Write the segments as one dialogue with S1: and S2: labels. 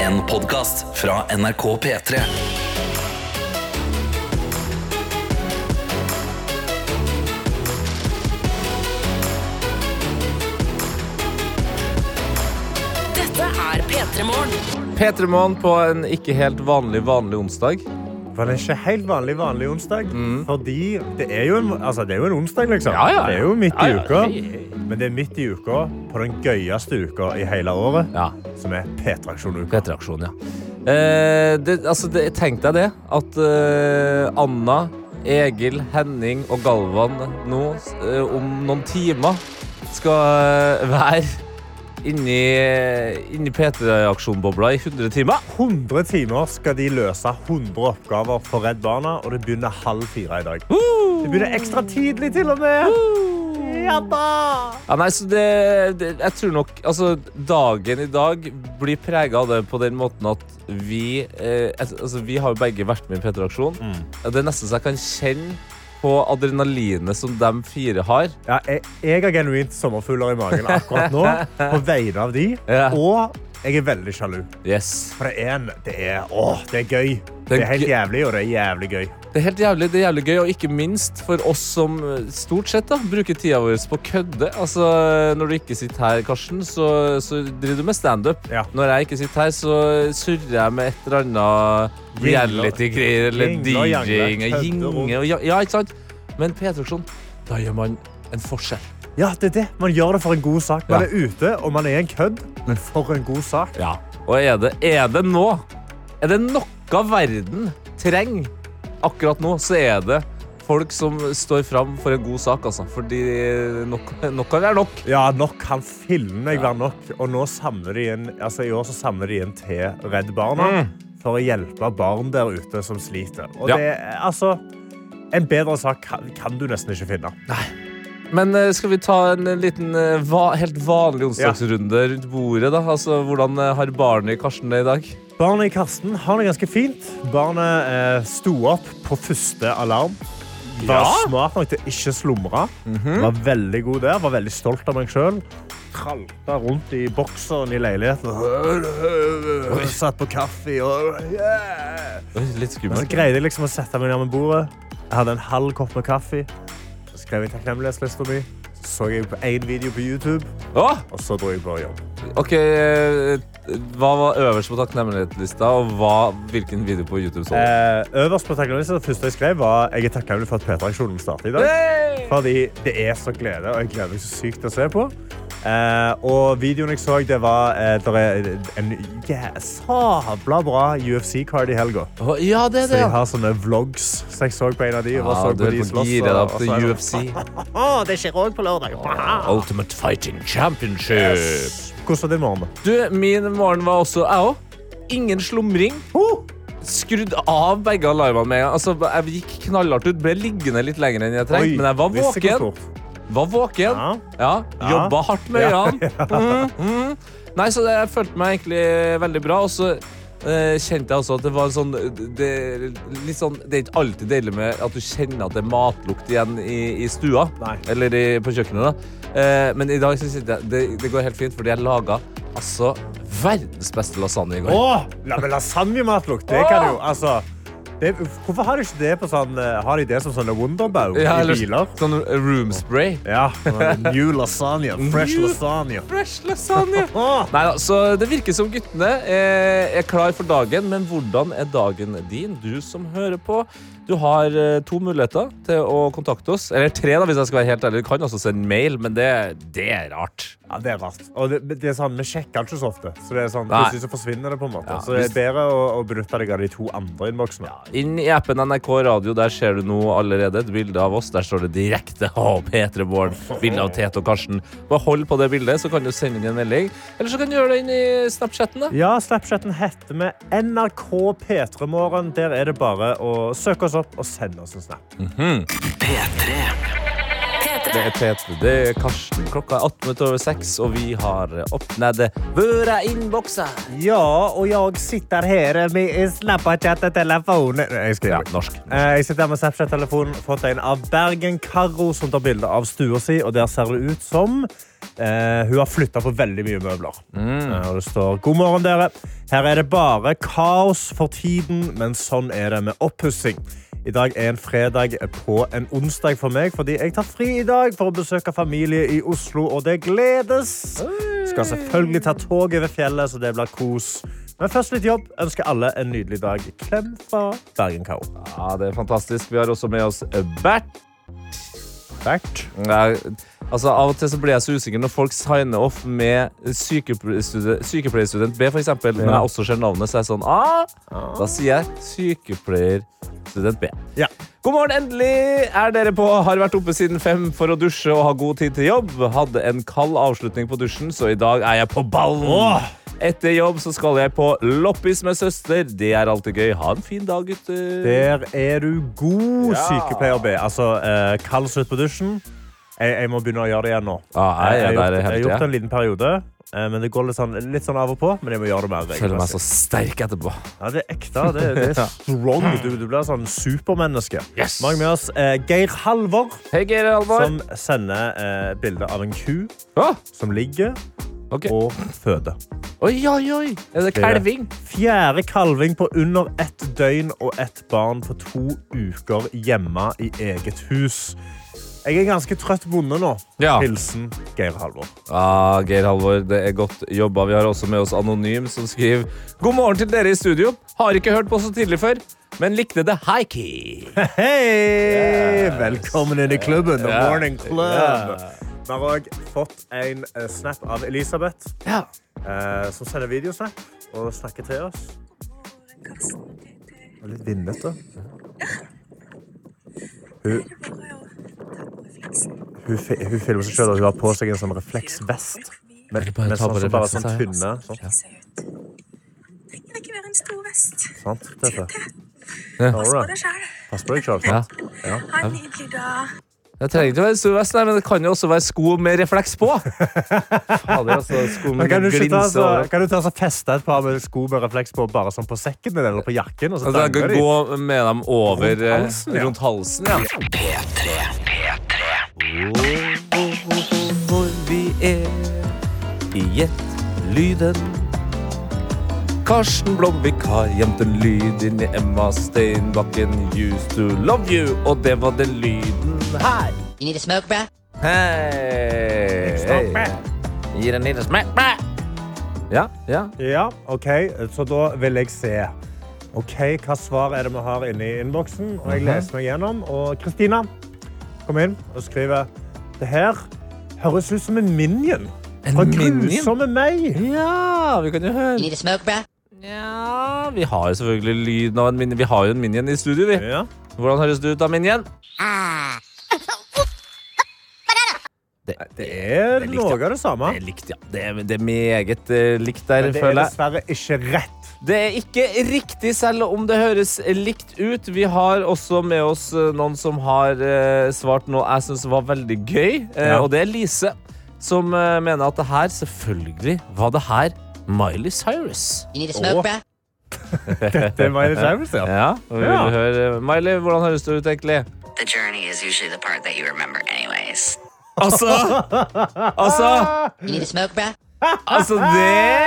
S1: En podcast fra NRK P3
S2: Dette er P3 Morgen.
S3: P3 Morgen på en ikke helt vanlig vanlig onsdag.
S4: For det er ikke helt vanlig vanlig onsdag. Fordi det er, jo en, altså, det er jo en onsdag, liksom.
S3: Mm. Ja, ja, ja.
S4: Det er jo midt
S3: Ja,
S4: i
S3: ja,
S4: uka.
S3: hei, hei.
S4: Men det er midt i uka på den gøyeste uka i hele året,
S3: Ja,
S4: som er P-traksjonuka.
S3: P3-aksjon, ja. Eh, det, altså, det, tenk deg det. At eh, Anna, Egil, Henning og Galvan nå, eh, om noen timer, skal eh, være inni, inni P3-aksjonbobla i 100 timer.
S4: 100 timer skal de løse 100 oppgaver for Redd Barna, og det begynner halv fire i dag. Det begynner ekstra tidlig, til og med. Ja da!
S3: Ja, nei, så det, det Jeg tror nok Altså, dagen i dag blir prega av det på den måten at vi eh, Altså, vi har jo begge vært med i P3-aksjon. Ja, Det er nesten så jeg kan kjenne på adrenalinet som de fire har.
S4: Ja, jeg, jeg har genuint sommerfugler i magen akkurat nå, på vegne av de.
S3: Ja.
S4: Og jeg er veldig sjalu.
S3: Yes.
S4: For det er, en, det er, åh, det er gøy. Det er helt
S3: gøy.
S4: jævlig, og det er jævlig gøy.
S3: Det er helt jævlig, det er jævlig gøy, og ikke minst for oss som eh, stort sett da, bruker tida vår på å kødde. Altså, Når du ikke sitter her, Karsten, så, så driver du med standup.
S4: Ja.
S3: Når jeg ikke sitter her, så surrer jeg med et eller annet
S4: Jingle.
S3: reality-greier eller
S4: Jingle og jangle,
S3: DJ-ing.
S4: kødde rundt.
S3: Jinge og ja, ja, ikke sant? Men P-traksjon, da gjør man en forskjell.
S4: Ja, det er det. Man gjør det for en god sak. Man
S3: Ja.
S4: er ute, og man er en kødd, men for en god sak.
S3: Ja. Og er det, er det nå Er det noe verden trenger akkurat nå, så er det folk som står fram for en god sak, altså. Fordi nok, nok kan være nok.
S4: Ja, nok kan filmen jeg være nok. Og nå samler de inn, altså i år så samler de inn til Redd Barna for å hjelpe barn der ute som sliter. Og
S3: Mm. Ja.
S4: det er, altså, en bedre sak kan, kan du nesten ikke finne.
S3: Men eh, skal vi ta en liten eh, va helt vanlig onsdagsrunde rundt bordet, da? Altså, hvordan eh, har barnet i Karsten det i dag?
S4: Barnet i Karsten har det ganske fint. Barnet eh, sto opp på første alarm. Var
S3: Ja.
S4: smart nok til å ikke slumre. Var veldig god der. Var veldig stolt av meg sjøl. Kralta rundt i bokseren i leiligheten. Satt på kaffe og yeah.
S3: Oi, litt
S4: Men så
S3: skummelt.
S4: greide jeg liksom å sette meg ned med bordet. Jeg hadde en halv kopp med kaffe. Så skrev jeg takknemlighetslista mi. Så så jeg på én video på YouTube,
S3: Å,
S4: og så dro jeg på jobb.
S3: OK. eh, Hva var øverst på takknemlighetslista, og hva, hvilken video på YouTube så du?
S4: Eh, øverst på takknemlighetslista, det første jeg skrev, var jeg er takknemlig for at P3-aksjonen starter i dag.
S3: Hey!
S4: Fordi det er så glede, og jeg gleder meg så sykt til å se på. Eh, og videoen jeg så, det var eh, der er en jæ- sabla bra UFC-card i helga.
S3: Å, Ja, det er
S4: Så
S3: det.
S4: jeg
S3: ja.
S4: har sånne vlogs som jeg så på en av de. og
S3: Ja,
S4: så
S3: du er
S4: de
S3: på
S4: slåss,
S3: giret
S4: og-
S3: da,
S4: og
S3: til
S4: så er det-
S3: UFC.
S4: Å, det skjer òg på lørdag.
S3: Ultimate Fighting Championship.
S4: Hvordan var din morgen?
S3: Du, min morgen var også jeg òg. Ingen slumring. Skrudd av begge alarmene med en gang. Altså, jeg gikk knallhardt ut. Ble liggende litt lenger enn jeg trengte, men jeg var
S4: visste ikke
S3: våken.
S4: hvor.
S3: Var våken.
S4: Ja.
S3: Ja,
S4: Ja.
S3: Jobba hardt med
S4: Ja.
S3: øynene. Mm, mm. Nei, så jeg følte meg egentlig veldig bra. Og så eh, kjente jeg også at det var sånn det, litt sånn det er ikke alltid deilig med at du kjenner at det er matlukt igjen i, i stua.
S4: Nei.
S3: Eller i, på kjøkkenet, da. Eh, men i dag så sitter jeg, det, det går helt fint, fordi jeg laga altså verdens beste lasagne i går.
S4: Åh, la, men lasagnematlukt, det kan jo, altså... Det, hvorfor har de ikke det på sånn... eh, Har de det som sånne Wonderbow
S3: Ja,
S4: i
S3: eller
S4: biler?
S3: sånn room spray.
S4: Ja, new lasagna, fresh
S3: New-
S4: lasagna.
S3: Fresh lasagne!
S4: Åh,
S3: Nei da, så det virker som guttene eh, er klar for dagen, men hvordan er dagen din, du som hører på? Du har eh, to muligheter til å kontakte oss. Eller tre, da, hvis jeg skal være helt ærlig. Du kan også sende mail, men det, det er rart.
S4: Ja, det er rart. Og det, det er sånn, vi sjekker ikke så ofte. Så det er sånn,
S3: Nei.
S4: plutselig så forsvinner det på en måte.
S3: Ja,
S4: Så det
S3: hvis-
S4: er bedre å, å benytte deg av de to andre innboksene.
S3: Inn i appen NRK Radio, der ser du nå allerede et bilde av oss. Der står det direkte av P3 Morgen. Bilde av Tete og Karsten. Bare hold på det bildet, så kan du sende inn en melding. Eller så kan du gjøre det inn i Snapchatten, da.
S4: Ja, Snapchatten heter vi NRK P3morgen. Der er
S3: Mm.
S4: det bare å søke oss opp og sende oss en snap.
S1: P3
S2: P3.
S3: Det er Tete, det er Karsten. Klokka er 18 minutter over seks, og vi har åpnet Vøra innboksa.
S4: Ja, og jeg sitter her med Snapchat-telefonen Jeg
S3: Ja,
S4: skriver.
S3: norsk.
S4: Eh, Jeg sitter her med Snapchat-telefonen fått en av Bergen Karo som tar bilde av stua si, og der ser det ut som eh, hun har flytta på veldig mye møbler. Eh, og det står God morgen, dere. Her er det bare kaos for tiden, men sånn er det med oppussing. I dag er en fredag på en onsdag for meg, fordi jeg tar fri i dag for å besøke familie i Oslo, og det gledes. Skal selvfølgelig ta tog over fjellet, så det blir kos. Men først litt jobb. Ønsker alle en nydelig dag. Klem fra Bergen Karo.
S3: Ja, det er fantastisk. Vi har også med oss eh, Bert.
S4: Bert.
S3: Nei, altså Av og til så blir jeg så usikker når folk signer off med sykeple- sykepleierstudent B, for eksempel. Når jeg også ser navnet, så er jeg sånn ah! Da sier jeg sykepleierstudent B.
S4: Ja.
S3: God morgen, endelig er dere på. Har vært oppe siden fem for å dusje og ha god tid til jobb. Hadde en kald avslutning på dusjen, så i dag er jeg på ballen. Etter jobb så skal jeg på loppis med søster. Det er alltid gøy. Ha en fin dag, gutter.
S4: Der er du god,
S3: Ja.
S4: sykepleier B. Altså, eh, kald slutt på dusjen. Jeg, jeg må begynne å gjøre det igjen nå.
S3: Ja, jeg er der
S4: har gjort, jeg har
S3: hele
S4: gjort
S3: tiden.
S4: det en liten periode, eh, men det går litt sånn, litt sånn av og på. Men jeg må gjøre det mer.
S3: Føler meg
S4: regelmessig.
S3: så sterk etterpå.
S4: Ja, det er ekte. Det, det er strong. Du, du blir sånn supermenneske.
S3: Yes.
S4: Vi har med oss eh, Geir Halvor,
S3: Hei, Geir Alvar.
S4: som sender eh, bilde av en ku
S3: Ah,
S4: som ligger
S3: ok.
S4: og føder.
S3: Oi, oi, oi! Er det kalving?
S4: Fjerde kalving på under ett døgn og ett barn på to uker hjemme i eget hus. Jeg er ganske trøtt bonde nå.
S3: Ja.
S4: Hilsen Geir Halvor.
S3: Ah, Geir Halvor, det er godt jobba. Vi har også med oss Anonym, som skriver God morgen til dere i studio. Har ikke hørt på så tidlig før, men likte det high-key.
S4: Hei! Velkommen inn i klubben. The
S3: Ja.
S4: Morning Club. Vi har òg fått en eh, snap av Elisabeth,
S3: Ja.
S4: eh, som sender videosnap og snakker til oss. Og Litt vindete. Hun, hun, fi- hun filmer seg selv og hun har på seg en sånn refleksvest. Med,
S3: bare
S4: med
S3: ta
S4: sånn,
S3: på
S4: så bare
S3: refleksen,
S4: sånn
S3: sa jeg.
S4: tynne. Sånn,
S5: trenger ikke være en stor vest.
S4: sant? Dette.
S3: Ja.
S4: All
S5: Spør
S4: right.
S5: deg sjæl.
S4: Pass på deg selv,
S3: Ja.
S4: sant? Ja.
S5: Ha en nydelig dag.
S3: Det trenger ikke være stor vest, nei, men det kan jo også være sko med refleks på. Fader, altså, sko
S4: Men
S3: med
S4: kan du, ikke ta,
S3: glins
S4: så,
S3: over.
S4: kan du ta så feste et par med sko med refleks på bare sånn på sekken din eller på jakken? Og så
S3: Altså, jeg
S4: danger
S3: kan
S4: de?
S3: gå med dem over eh,
S4: Rundt halsen, ja.
S3: rundt halsen, ja. Hvor vi er i Gjett-lyden. Karsten Blomvik har gjemt en lyd inni Emma Steinbakken. Used to love you. Og det var den lyden her.
S6: You need a smoke, bruh?
S3: Hei! Gir en liten smekk, bæ! Ja, ja.
S4: Ja, OK, så da vil jeg se. OK, hva svar er det vi har inne i innboksen? Og
S3: Mhm.
S4: jeg leser meg gjennom, og Kristina kom inn og skriver Det her høres ut som en minion.
S3: En
S4: Fra
S3: minion?
S4: grusomme meg.
S3: Ja, vi kan jo høre.
S6: You need a smoke, bruh?
S3: Ja, vi har jo selvfølgelig lyden av en minion. Vi har jo en minion i studio, vi.
S4: Ja.
S3: Hvordan høres du ut da, minion?
S4: Det er
S3: Det likte
S4: noe
S3: jeg.
S4: av det samme.
S3: Det er likt, ja. Det er, det er meget eh, likt der,
S4: Men det er
S3: føler jeg.
S4: dessverre ikke rett.
S3: Det er ikke riktig, selv om det høres likt ut. Vi har også med oss eh, noen som har eh, svart noe jeg syns var veldig gøy, eh,
S4: Ja.
S3: og det er Lise, som eh, mener at det her selvfølgelig var det her Miley Cyrus.
S6: You need a smoke,
S4: Oh.
S6: bruh?
S4: Det er Miley Cyrus, ja.
S3: Ja, og vi
S4: Ja.
S3: vil høre eh, Miley, hvordan høres du ut egentlig?
S7: The journey is usually the part that you remember, anyways.
S3: Altså Altså,
S6: You need a smoke, bruh?
S3: altså det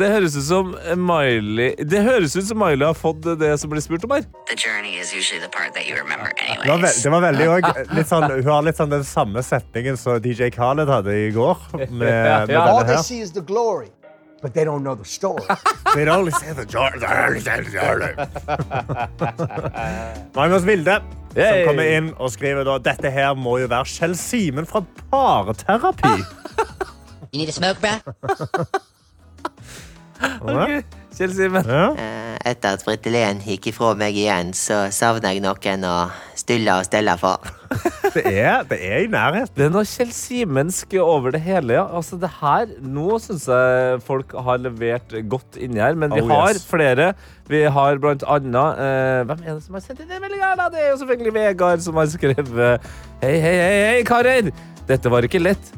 S3: Det høres ut som Miley Det høres ut som Miley har fått det som blir spurt om her.
S7: The journey is usually the part that you remember,
S4: Det var, ve
S7: anyways.
S4: det var veldig òg litt sånn, Hun har litt sånn den samme setningen som DJ Khaled hadde i går. Med, med
S3: Ja.
S8: All
S4: denne
S8: they
S4: her.
S8: see is the glory, but they don't know the story.
S4: They don't listen to George- they don't listen to George. Magnus Vilde som
S3: Yay.
S4: kommer inn og skriver da dette her må jo være Kjell Simen fra Parterapi.
S6: You need a smoke, bruh?
S3: Ok, Kjell Simen.
S4: Ja.
S6: Etter at Frittelén gikk ifra meg igjen, så savner jeg noen å stylle og stelle for.
S4: Det er, det er i nærheten.
S3: Det er noe Kjell Simensk over det hele. Ja. Altså, det her, nå syns jeg folk har levert godt inni her, men vi
S4: Oh,
S3: har
S4: yes.
S3: flere. Vi har blant annet eh, Hvem er det som har sendt inn den meldinga? da? Det er jo selvfølgelig Vegard som har skrevet Hei, hei, hei, hei, karer! Dette var ikke lett.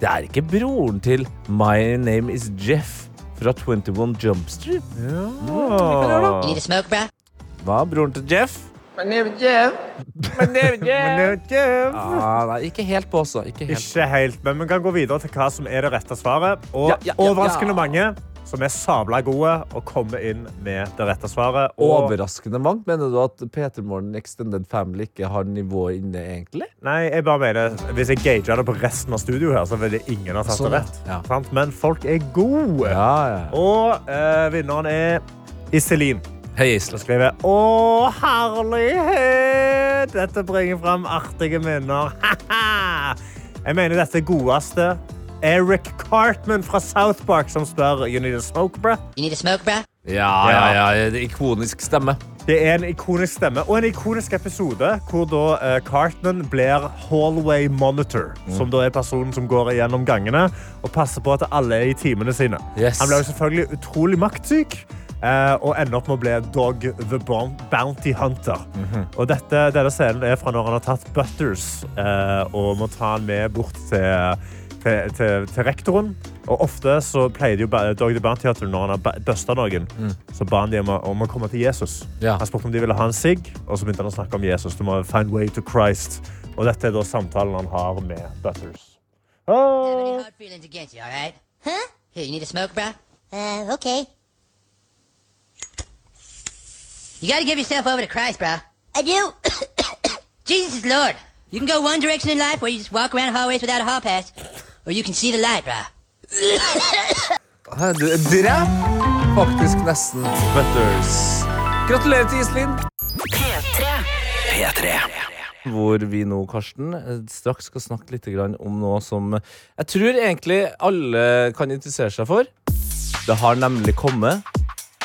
S3: Det er ikke broren til My Name Is Jeff fra 21 Jump Street.
S4: Mm.
S6: You need a smoke, bruh?
S3: Hva er broren til Jeff?
S4: Men det er ikke-
S3: Ah, nei, ikke helt på, altså. Ikke helt.
S4: Ikke helt, men vi kan gå videre til hva som er det rette svaret. Og
S3: Ja, ja, ja,
S4: overraskende
S3: ja.
S4: mange som er sabla gode og kommer inn med det rette svaret. Og
S3: Overraskende mangt. Mener du at Peter Morten Extended Family ikke har nivået inne, egentlig?
S4: Nei, jeg bare mener, Hvis jeg gager det på resten av studioet, her, så ville ingen ha tatt
S3: Sånn,
S4: det rett.
S3: ja.
S4: Sant? Men folk er gode.
S3: Ja, ja.
S4: Og eh, vinneren er Iselin.
S3: Hei,
S4: Som
S3: Island.
S4: skriver Å, herlighet! Dette bringer fram artige minner. Haha! jeg mener dette er godeste Eric Cartman fra South Park som spør You need a smoke, bruh?
S6: You need a smoke, bruh?
S3: Ja, ja, ja. det er Ikonisk stemme.
S4: Det er en ikonisk stemme og en ikonisk episode hvor da eh, Cartman blir hallway monitor, som da er personen som går gjennom gangene og passer på at alle er i timene sine.
S3: Yes.
S4: Han blir jo selvfølgelig utrolig maktsyk eh, og ender opp med å bli Dog the Bon- Bounty Hunter. Og dette, denne scenen er fra når han har tatt Butters eh, og må ta han med bort til til, til, til rektoren. Og ofte så pleier de jo ba- Dog the Bounty Hunter når han har ba- busta noen, så ba han de om å, om å komme til Jesus.
S3: Ja.
S4: Han spurte om de ville ha en sigg, og så begynte han å snakke om Jesus. Du må find way to Christ. Og dette er da samtalen han har med Butters. Ah!
S6: Pretty hard feeling to get you, all right? Huh? Here, you need a smoke, bruh? Uh, okay. You gotta give yourself over to Christ, bruh. I do. Jesus is Lord. You can go one direction in life where you just walk around hallways without a hall pass, or you can see the light, bruh.
S3: Hæ, du er Drep! Faktisk nesten. Butters. Gratulerer til Iselin.
S1: P3.
S3: Hvor vi nå, Karsten, eh, straks skal snakke litt grann om noe som eh, jeg tror egentlig alle kan interessere seg for. Det har nemlig kommet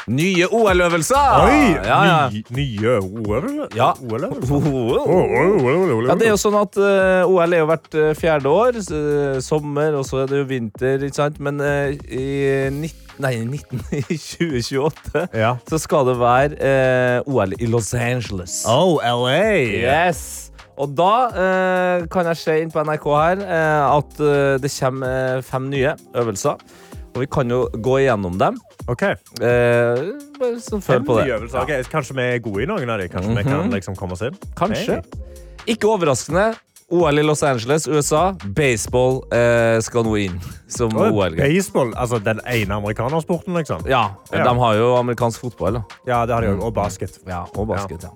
S3: nye OL-øvelser! Ah, Ja, ja. Oh,
S4: ny- nye OL?
S3: Ja.
S4: OL-øvelser?
S3: OL.
S4: Ja,
S3: Ja, det er jo sånn at eh, OL er jo hvert eh, fjerde år. s- eh, sommer, og så er det jo vinter, ikke sant? Men eh, i 19... Nei, 19... I 2028
S4: Ja.
S3: så skal det være eh, OL i Los Angeles.
S4: Oh, LA!
S3: Yes! Og da eh, kan jeg se inn på NRK her eh, at eh, det kommer eh, fem nye øvelser. Og vi kan jo gå igjennom dem.
S4: Ok.
S3: Eh, bare sånn følg på det.
S4: Nye
S3: Mhm.
S4: øvelser. Ok, Kanskje vi er gode i noen av dem? Kanskje vi kan liksom komme oss inn?
S3: Kanskje.
S4: Hey.
S3: Ikke overraskende. OL i Los Angeles, USA. Baseball eh, skal nå inn som OL-greie.
S4: Baseball, altså den ene amerikanersporten, liksom?
S3: Ja,
S4: Ja.
S3: De har jo amerikansk fotball da.
S4: Ja, det har de òg. Og basket.
S3: Ja, og basket. Ja.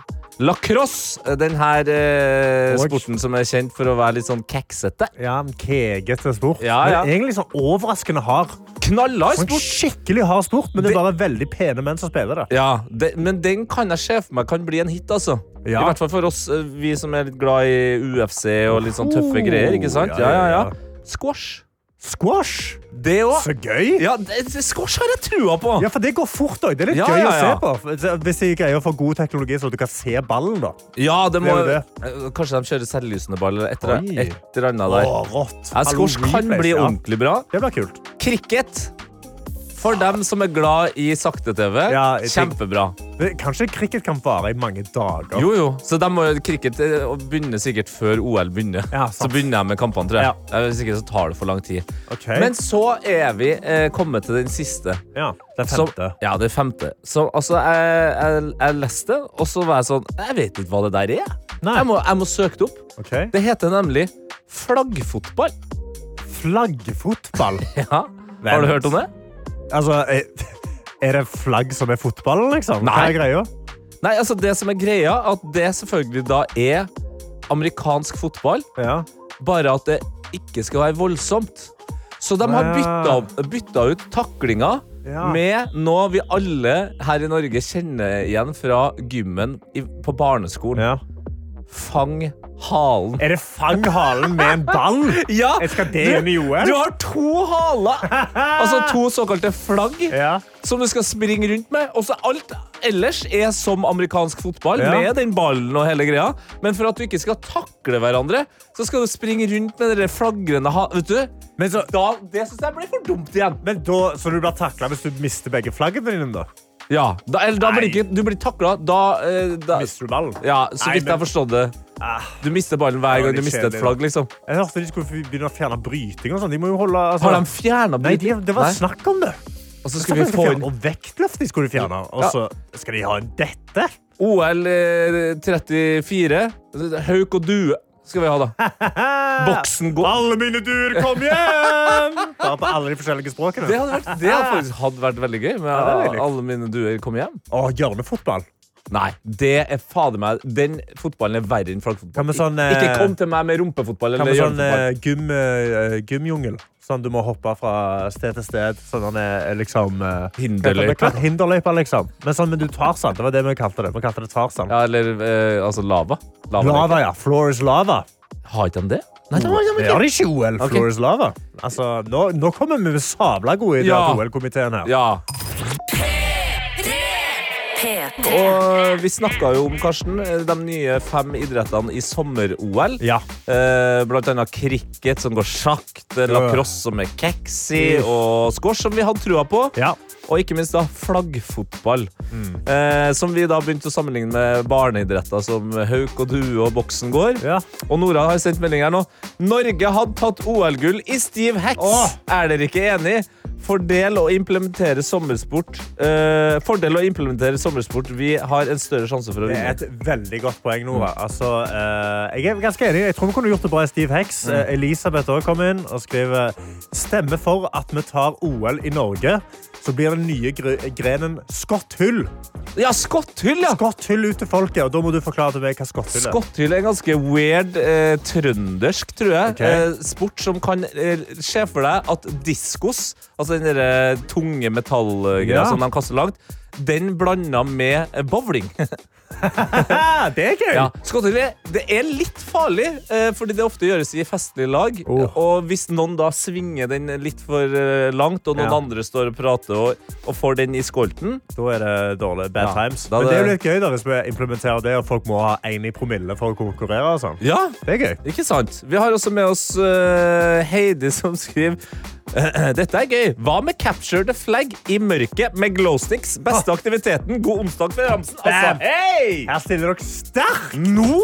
S3: Lacrosse, eh, den her eh,
S4: Og-
S3: sporten som er kjent for å være litt sånn keksete.
S4: Ja, en Kegete sport.
S3: Ja, ja.
S4: Men egentlig sånn overraskende hard.
S3: Knallhard
S4: Sånn
S3: sport!
S4: skikkelig hard sport, men det er
S3: Det-
S4: bare veldig pene menn som spiller det.
S3: Ja, det, men den kan jeg se for meg kan bli en hit, altså.
S4: Ja.
S3: I hvert fall for oss, eh, vi som er litt glad i UFC og litt sånn tøffe
S4: Oh,
S3: greier, ikke sant?
S4: ja,
S3: Ja, ja,
S4: ja, ja.
S3: ja. Squash.
S4: Squash!
S3: Det òg.
S4: Så gøy!
S3: Ja, det, det- squash har jeg trua på.
S4: Ja, for det går fort òg. Det er litt
S3: Ja,
S4: gøy
S3: ja, ja.
S4: å se på. Hvis de greier å få god teknologi, så du kan se ballen, da.
S3: Ja, det må,
S4: Det er
S3: Eh, Kanskje de kjører selvlysende ball eller et, eller-
S4: Oi.
S3: et eller annet der.
S4: Å, rått.
S3: Ja, squash
S4: Hallo,
S3: kan
S4: replays,
S3: bli
S4: ja.
S3: ordentlig bra.
S4: Det blir kult.
S3: Cricket. For dem som er glad i sakte-TV.
S4: Ja, jeg tenk-
S3: kjempebra.
S4: Men Kanskje cricket kan vare i mange dager.
S3: Jo, jo. Så de må, cricket eh, og begynner sikkert før OL begynner.
S4: Ja,
S3: så
S4: sant.
S3: begynner jeg med kampene, tror jeg.
S4: Ja.
S3: Eh, Hvis ikke så tar det for lang tid.
S4: Ok.
S3: Men så er vi eh, kommet til den siste.
S4: Ja, det er
S3: Som-
S4: femte.
S3: ja, det er femte. Så altså, jeg, jeg, jeg leste, og så var jeg sånn Jeg vet ikke hva det der er.
S4: Nei.
S3: Jeg må, jeg må søke det opp.
S4: Ok.
S3: Det heter nemlig flaggfotball.
S4: Flaggfotball.
S3: Ja. Har du hørt om det?
S4: altså, er- er det flagg som er fotballen, liksom? Hva
S3: Nei.
S4: er greia?
S3: Nei, altså Det som er greia, at det selvfølgelig da er amerikansk fotball,
S4: Ja.
S3: bare at det ikke skal være voldsomt. Så de har
S4: Ja.
S3: bytta, bytta ut taklinga
S4: Ja.
S3: med noe vi alle her i Norge kjenner igjen fra gymmen i, på barneskolen.
S4: ja.
S3: Fang halen.
S4: Er det fang halen med en ball?
S3: Ja!
S4: Jeg skal det
S3: Du-
S4: inn i OL?
S3: Du har to haler! Altså to såkalte flagg
S4: Ja.
S3: som du skal springe rundt med. Og så alt ellers er som amerikansk fotball,
S4: Ja.
S3: med den ballen og hele greia. Men for at du ikke skal takle hverandre, så skal du springe rundt med den der flagrende ha... Vet du?
S4: Men så-
S3: da, det syns jeg ble for dumt igjen.
S4: Men da, så du blir takla hvis du mister begge flaggene dine? da?
S3: Ja, da, eller, da blir
S4: Nei.
S3: ikke, du blir takla. Da, eh, da
S4: Mister du ballen?
S3: Ja, så
S4: Nei,
S3: vidt jeg
S4: men-
S3: har forstått det.
S4: Ah.
S3: Du mister ballen hver
S4: Det
S3: gang
S4: var
S3: du
S4: litt
S3: mister et
S4: kjedelig,
S3: flagg, liksom.
S4: Jeg hørte de skulle begynne å fjerne bryting. og sånn. De må jo holde... altså-
S3: Har de fjerna
S4: Nei, de, det var snakk om det.
S3: Og så
S4: Så
S3: skal vi få inn
S4: Og vektløft de skulle fjerne. Og
S3: Ja.
S4: så skal de ha inn dette?
S3: OL eh, 34. Hauk og due skal vi ha, da. Boksen går
S4: Alle mine duer, kom hjem! Bare på alle de forskjellige språkene.
S3: Det hadde, vært, det hadde faktisk hadde vært veldig gøy. Med
S4: det er veldig.
S3: alle mine duer kom hjem.
S4: Å, hjørnefotball.
S3: Nei, det er fader meg Den fotballen er verre enn
S4: Hva
S3: flaggfotball.
S4: med sånn, eh,
S3: Ikke kom til meg med rumpefotball
S4: Kan
S3: eller
S4: vi sånn
S3: hjørnefotball.
S4: eh, gym, eh, gymjungel? Sånn du må hoppe fra sted til sted. Sånn han er eh, liksom eh,
S3: Hinderløype.
S4: hva heter det? Hinderløype, liksom. Men, sånn, men du Tarzan. Det var det vi kalte det. Vi kalte det Tarzan.
S3: Ja, eller eh, altså lava. lava.
S4: Lava, ja. Floor is lava.
S3: Har ikke han det? Nei, det har han
S4: Det
S3: ikke.
S4: har de ikke i OL.
S3: Ok.
S4: Floor is lava. Altså, nå, nå kommer vi med sabla gode ideer
S3: Ja.
S4: til OL-komiteen her.
S3: Ja.
S2: P3.
S3: Og vi snakka jo om Karsten, eh, de nye fem idrettene i sommer-OL.
S4: Ja.
S3: Eh, blant annet cricket som går sakte,
S4: ja.
S3: lacrosse som er keksi, og squash som vi hadde trua på.
S4: Ja. Mm.
S3: Og ikke minst da flaggfotball, eh, som vi da begynte å sammenligne med barneidretter som hauk og due og boksen går.
S4: Ja.
S3: Og Nora har sendt melding her nå. Norge hadde tatt OL-gull i stiv heks.
S4: Åh!
S3: Er dere ikke enig? Fordel å implementere sommersport. Eh, fordel å implementere sommersport. Vi har en større sjanse for å
S4: Det er
S3: vinne.
S4: et veldig godt poeng, Nora.
S3: Mm.
S4: Altså, eh, jeg er ganske enig. Jeg tror vi kunne gjort det bra i Steve Hex.
S3: Mm.
S4: Eh, Elisabeth også kom inn og skriver Stemme for at vi tar OL i Norge. Så blir den nye gre grenen skotthull.
S3: Ja, skotthyll, ja!
S4: Skotthull ut til folket. Og da må du forklare til meg hva skotthull er.
S3: Skotthyll er en ganske weird eh, trøndersk, tror jeg.
S4: Ok.
S3: Eh, sport som kan eh, se for deg at diskos, altså den derre tunge metallgreia
S4: Ja.
S3: som de kaster langt, den blanda med eh, bowling.
S4: Ah, det er gøy!
S3: ja. Skotthyll er- det er litt farlig, eh, fordi det ofte gjøres i festlige lag.
S4: Oh.
S3: Og hvis noen da svinger den litt for eh, langt, og noen
S4: Ja.
S3: andre står og prater og, og får den i skolten
S4: Da er det dårlig. Bad
S3: Ja,
S4: times.
S3: da
S4: Men det er jo
S3: det-
S4: litt gøy da, hvis vi implementerer det, og folk må ha én i promille for å konkurrere. og sånn.
S3: Ja,
S4: Det er gøy.
S3: Ikke sant? Vi har også med oss eh, Heidi som skriver Dette er gøy. Hva med capture the flag i mørket med glowsticks? Beste aktiviteten. God onsdag fra Ramsen. Altså,
S4: Bam!
S3: hei!
S4: Her stiller dere sterkt!
S3: Nå,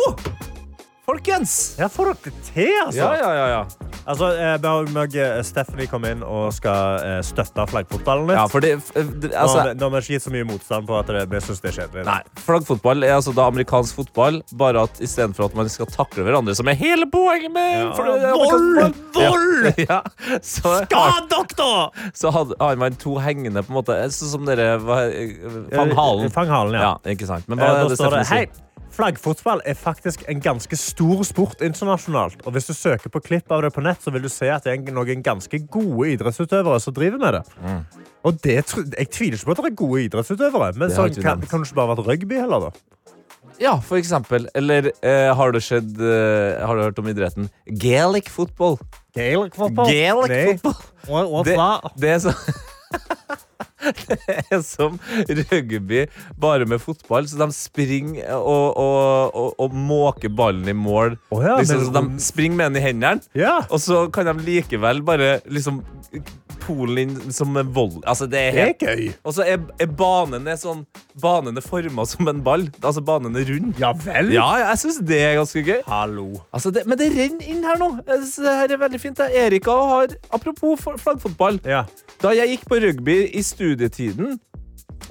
S3: folkens!
S4: Her får dere det til, altså.
S3: Ja, ja, ja, ja.
S4: Altså, eh, meg, meg, eh, Stephanie kom inn og skal eh, støtte flaggfotballen litt.
S3: ja for det, f- det altså,
S4: Nå har vi ikke gitt så mye motstand på at det, vi synes det er kjedelig. Eh,
S3: Nei, Flaggfotball er altså da amerikansk fotball, bare at istedenfor at man skal takle hverandre, som er hele poenget med
S4: Ja.
S3: for- eh,
S4: Vold!
S3: amerikansk fotball. Ja. Ja. Så,
S4: Skad dere, da!
S3: så hadde, har man to hengende, på en måte. Sånn som dere hva- eh, Fang halen.
S4: Fang halen, ja.
S3: Ja, ikke sant. Men
S4: Eh,
S3: hva er
S4: Da
S3: det
S4: står det
S3: Steffen
S4: Hei,
S3: sier?
S4: flaggfotball er faktisk en ganske stor sport internasjonalt. Og hvis du søker på klipp av det på nett, så vil du se at det er noen ganske gode idrettsutøvere som driver med det.
S3: Mm.
S4: Og det, tr- jeg tviler ikke på at det er gode idrettsutøvere, men
S3: Det har
S4: sånn,
S3: ikke vi
S4: kan,
S3: nevnt.
S4: kan det ikke bare vært rugby heller, da?
S3: Ja, for eksempel. Eller eh, har du sett eh, Har du hørt om idretten Gaelic football?
S4: Gaelic
S3: Gaelic football! Det, det er så Det er som rugby, bare med fotball. Så de springer og, og, og, og måker ballen i mål.
S4: Å ja,
S3: liksom, så
S4: men-
S3: de springer med den i hendene,
S4: Ja.
S3: og så kan de likevel bare liksom Polen inn som en vold... Altså, det er helt
S4: Det er gøy.
S3: Og så er, er banen er sånn Banen er forma som en ball. Altså, banen er rund.
S4: Ja vel?
S3: Ja, jeg syns det er ganske gøy.
S4: Hallo.
S3: Altså det, men det renner inn her nå. Jeg synes Det her er veldig fint. det. Erika har Apropos for- flaggfotball.
S4: Ja.
S3: Da jeg gikk på rugby i studietiden,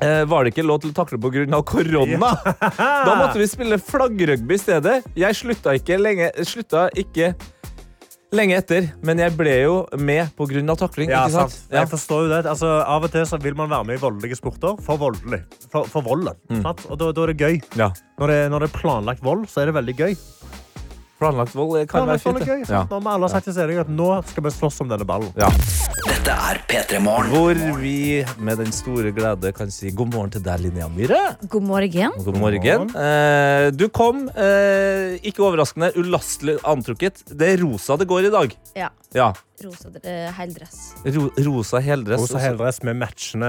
S3: eh, var det ikke lov til å takle pga. korona.
S4: Ah!
S3: Da måtte vi spille flaggrugby i stedet. Jeg slutta ikke lenge, slutta ikke lenge etter, men jeg ble jo med pga. takling.
S4: Ja,
S3: ikke sant?
S4: sant.
S3: Ja.
S4: Jeg forstår jo det. Altså, av og til så vil man være med i voldelige sporter for voldelig. For, for volden.
S3: Mm.
S4: Sant? Og da, da er det gøy.
S3: Ja.
S4: Når det, når det er planlagt vold, så er det veldig gøy.
S3: Planlagt vold kan være
S4: Planlagt
S3: fint.
S4: vold er
S3: det.
S4: gøy.
S3: Ja.
S4: sant? Nå har vi alle sagt til seg at nå skal vi slåss om denne ballen.
S3: Ja.
S1: Dette er P3 Morgen.
S3: Hvor vi med den store glede kan si god morgen til deg, Linnea Myhre.
S9: God morgen.
S3: God morgen. Eh, du kom, eh, ikke overraskende, ulastelig antrukket. Det er rosa det går i dag.
S9: Ja.
S3: Ja,
S9: Rosa eh, heldress.
S3: Ro rosa heldress.
S4: Rosa heldress med matchende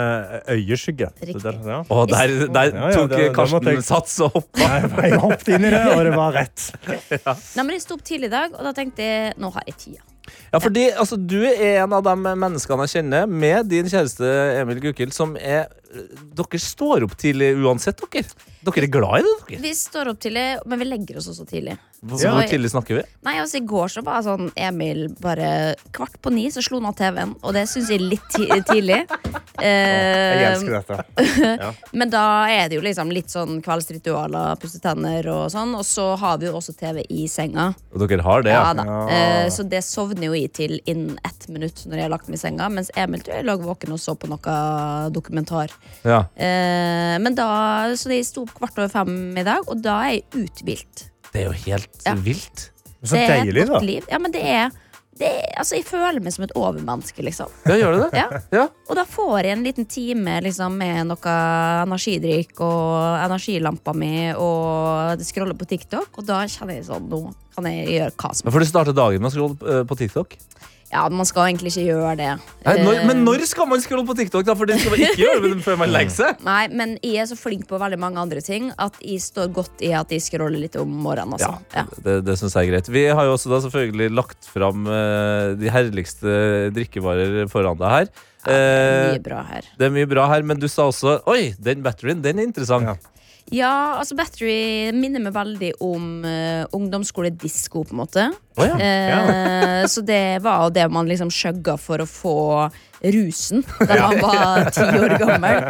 S4: øyeskygge.
S9: Riktig.
S4: Det der- ja.
S3: Å, der, der
S4: Ja, ja,
S3: tok
S4: det- det måtte
S3: Karsten
S4: jeg-
S3: sats og hoppa.
S4: Nei, Jeg hoppet inn i det, og det var rett.
S9: Nei, men Jeg sto opp tidlig i dag, og da tenkte jeg nå har jeg tida.
S3: Ja, fordi altså, Du er en av de menneskene jeg kjenner, med din kjæreste Emil Gukild, som er Dere står opp tidlig uansett, dere. Dere er glad i det, dere.
S9: Vi står opp tidlig, men vi legger oss også tidlig.
S3: Hvor,
S9: Ja.
S3: hvor tidlig snakker vi?
S9: Nei, altså I går så var sånn Emil bare kvart på ni, så slo han av TV-en. Og det syns jeg er litt ti tidlig.
S4: Jeg
S9: Eh,
S4: elsker dette.
S9: men da er det jo liksom litt sånn kveldsritualer, pusse tenner og sånn. Og så har vi jo også TV i senga.
S3: Og dere har det,
S9: Ja
S3: ja.
S9: da. Eh, så det sovner jo jeg til innen ett minutt når jeg har lagt meg i senga. Mens Emil tror jeg lå våken og så på noe dokumentar.
S3: ja.
S9: Eh, men da, Så jeg sto opp kvart over fem i dag, og da er jeg uthvilt.
S3: Det er jo helt
S9: Ja.
S3: vilt.
S4: Så
S9: det er et
S4: deilig,
S9: godt
S4: da.
S9: liv. Ja, men det er, det er, altså, jeg føler meg som et overmenneske, liksom.
S3: Ja, gjør det det?
S9: Ja. Og da får jeg en liten time liksom, med noe energidrikk og energilampa mi og scroller på TikTok, og da kjenner jeg sånn Nå kan jeg gjøre hva som
S3: Ja, For du starter dagen med å scrolle eh, på TikTok?
S9: Ja, man skal egentlig ikke gjøre det.
S3: Nei, når, men
S9: Eh,
S3: når skal man scrolle på TikTok, da? For det skal man ikke gjøre men før man legger seg.
S9: Nei, men jeg er så flink på veldig mange andre ting at jeg står godt i at jeg scroller litt om morgenen. Altså. Ja.
S3: Det, det syns jeg er greit. Vi har jo også da selvfølgelig lagt fram eh, de herligste drikkevarer foran deg her. Eh,
S9: Mye bra her.
S3: det er mye bra her, men du sa også Oi, den batterien, den er interessant.
S4: Ja.
S9: Ja, altså Battery minner meg veldig om uh, ungdomsskoledisko, på en måte.
S3: Å ja.
S9: Eh, så det var jo det man liksom skjøgga for å få rusen da man var ti år gammel.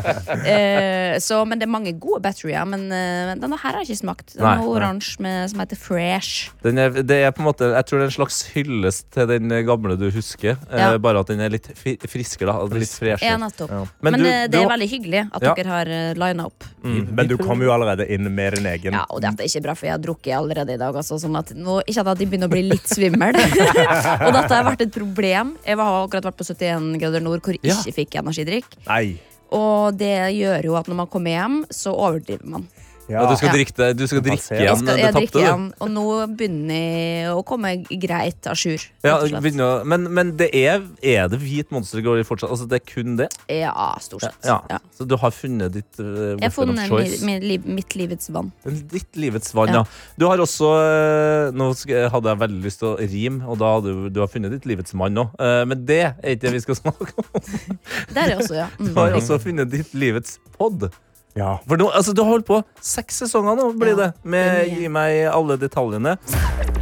S9: Eh, så, men det er mange gode batterier. Men eh, denne her har jeg ikke smakt. Den
S3: Nei,
S9: er
S3: nei.
S9: oransje med- som heter Fresh.
S3: Den er, det er på en måte, jeg tror det er en slags hyllest til den gamle du husker. eh,
S9: Ja.
S3: Bare at den er litt fi- friskere, da. Litt
S9: Ja,
S3: freshere.
S9: nettopp.
S3: Men
S9: Men,
S3: du- du
S9: eh, det er
S3: har-
S9: veldig hyggelig at
S3: Ja.
S9: dere har uh, lina opp.
S3: Mm.
S4: Mm. Men du kom jo allerede inn med din egen.
S9: Ja, og dette er ikke bra, for jeg har drukket allerede i dag. Altså, sånn at nå ikke at jeg begynner å bli litt svimmel. og dette har vært et problem. Jeg har akkurat vært på 71 grader nord hvor jeg
S3: Ja.
S9: ikke fikk energidrikk.
S4: Nei.
S9: Og det gjør jo at når man kommer hjem, så overdriver man.
S3: Ja, du skal
S9: Ja.
S3: drikke, det- du skal drikke
S4: Jeg
S9: Jeg,
S3: igjen
S9: skal,
S3: det
S9: jeg drikker
S3: tapte, du.
S9: igjen, og nå begynner jeg å komme greit à jour.
S3: Ja,
S9: rett og slett.
S3: begynner å- men, men det er, er det hvit monstergård fortsatt? Altså, det er kun det?
S9: ja stort sett.
S3: Ja.
S9: Ja.
S3: Så du har funnet ditt uh,
S9: Jeg har
S3: weapon of
S9: funnet
S3: choice?
S9: mi- mi- liv- mitt livets vann.
S3: Ditt livets vann, ja.
S9: Ja.
S3: Du har også eh, Nå sk- hadde jeg veldig lyst til å rime, og da hadde du, du har funnet ditt livets mann nå. Eh, Men det er ikke det vi skal snakke om.
S9: Der er også, ja. Mm.
S3: Du har også funnet ditt livets pod.
S4: Ja.
S3: For nå, altså, du har holdt på seks sesonger nå, blir det.
S9: Ja,
S3: Med
S9: det er mye.
S3: Gi meg alle detaljene.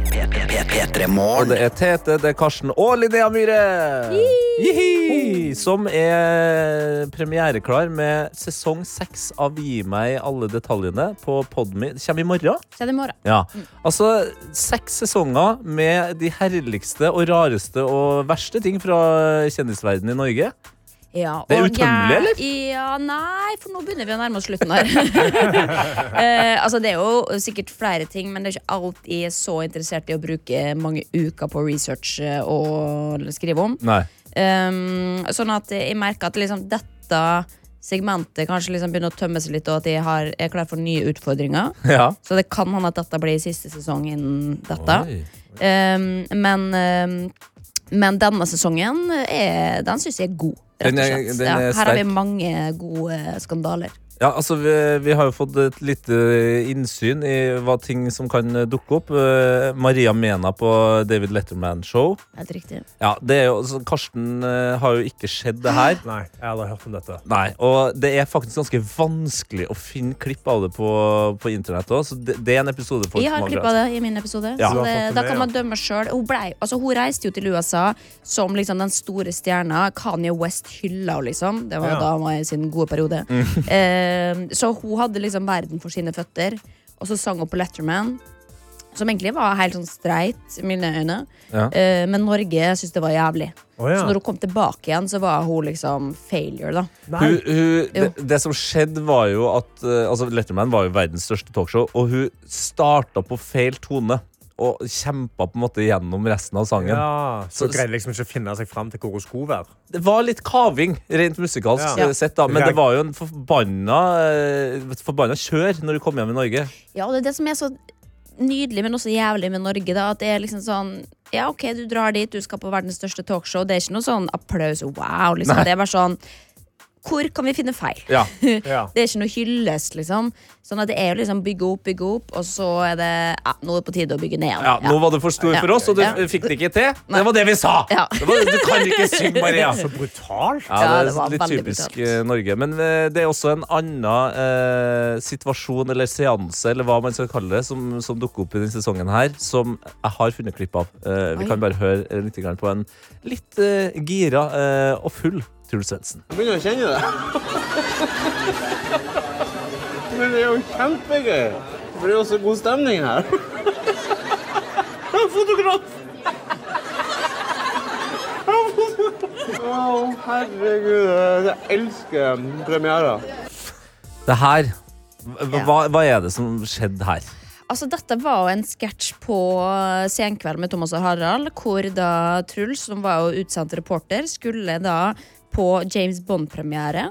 S1: P3
S3: Og det
S1: Morgen.
S3: er Tete, det er Karsten og Linnea Myhre. Jihi! Som er premiereklar med sesong seks av Gi meg alle detaljene på Podme. Det kommer i morgen.
S9: Kjenn i morgen.
S3: Ja. Altså, seks sesonger med de herligste og rareste og verste ting fra kjendisverdenen i Norge.
S9: Ja,
S3: Det er
S9: og
S3: utømmelig,
S9: jeg-
S3: eller?
S9: Ja, nei, for nå begynner vi å nærme oss slutten her. eh, altså, det er jo sikkert flere ting, men det er ikke alt jeg er så interessert i å bruke mange uker på research eh, og skrive om.
S3: Nei.
S9: Um, sånn at jeg merker at liksom dette segmentet kanskje liksom begynner å tømme seg litt, og at jeg har, er klar for nye utfordringer.
S3: Ja.
S9: Så det kan hende at dette blir siste sesong innen dette.
S3: Oi.
S9: Um, men, um, men denne sesongen er, den syns jeg er god. Rett
S3: Den
S9: og
S3: er-
S9: slett.
S3: den
S9: ja,
S3: er
S9: her har
S3: sterk.
S9: vi mange gode skandaler.
S3: Ja, altså vi, vi har jo fått et lite innsyn i hva ting som kan dukke opp. Eh, Maria Mena på David Letterman-show.
S9: Helt riktig.
S3: Ja, det er jo, altså, Karsten eh, har jo ikke skjedd det her.
S4: Nei, jeg har aldri hørt om dette.
S3: Nei, og det er faktisk ganske vanskelig å finne klipp av det på, på internett òg, så det, det er en episode folk
S9: Jeg har
S3: må
S9: klippa
S3: grave-
S9: det i min episode.
S3: Ja.
S4: Du
S9: Så
S4: har
S9: det,
S4: fått det
S9: da
S4: med,
S9: kan
S4: ja.
S9: man dømme sjøl. Hun, blei- altså, hun reiste jo til USA som liksom den store stjerna. Kanye West hylla henne, liksom. Det var
S4: Ja. Mm.
S9: da hun var i sin gode periode. Eh, så hun hadde liksom verden for sine føtter. Og så sang hun på Letterman. Som egentlig var helt sånn streit, i mine øyne.
S3: Ja.
S9: Eh, men Norge syntes det var jævlig.
S4: Å, ja.
S9: Så når hun kom tilbake igjen, så var hun liksom failure, da.
S4: Nei.
S3: Hun, hun,
S9: Jo.
S3: det, det som skjedde, var jo at eh, altså Letterman var jo verdens største talkshow, og hun starta på feil tone. og kjempa på en måte gjennom resten av sangen.
S4: Ja, så
S3: Så-
S4: greide liksom ikke å finne seg fram til hvor hun skulle være.
S3: Det var litt kaving, rent musikalsk
S4: Ja.
S3: eh, sett, da. Men
S4: Ja.
S3: det var jo en forbanna, eh, et forbanna kjør når du kom hjem i Norge.
S9: Ja, og det er det som er så nydelig, men også jævlig med Norge, da. At det er liksom sånn Ja, OK, du drar dit, du skal på verdens største talkshow. Det er ikke noe sånn applaus, wow, liksom.
S3: Nei.
S9: Det er bare sånn Hvor kan vi finne feil?
S3: Ja.
S4: Ja.
S9: Det er ikke noe hyllest, liksom. Sånn at det er jo liksom bygge opp, bygge opp, og så er det ja, Nå er det på tide å bygge ned igjen.
S3: ja, Nå var du for stor
S9: Ja.
S3: for oss, og du
S9: Ja.
S3: eh, fikk det ikke til. Det var det vi sa!
S9: Ja.
S3: Det var, du kan ikke synge, Maria.
S4: Så brutalt!
S3: Ja,
S9: Ja,
S3: det
S9: det var
S3: er litt
S9: veldig
S3: typisk
S9: brutalt.
S3: eh, Norge. Men eh, det er også en annen eh, situasjon eller seanse eller hva man skal kalle det, som, som dukker opp i denne sesongen her, som jeg har funnet klipp av. Eh, vi
S9: Oi.
S3: kan bare høre eh, litt grann på en litt eh, gira eh, og full Truls Svendsen.
S10: Jeg begynner å kjenne det. Men det er jo kjempegøy. For det er jo så god stemning her. Jeg er fotograf! Jeg er fotograf. Å, herregud. Jeg elsker premierer.
S3: Det her hva, hva- hva er det som skjedde her?
S9: Altså, dette var jo en sketsj på eh, Senkveld med Thomas og Harald, hvor da Truls, som var jo utsendt reporter, skulle da på James Bond-premiere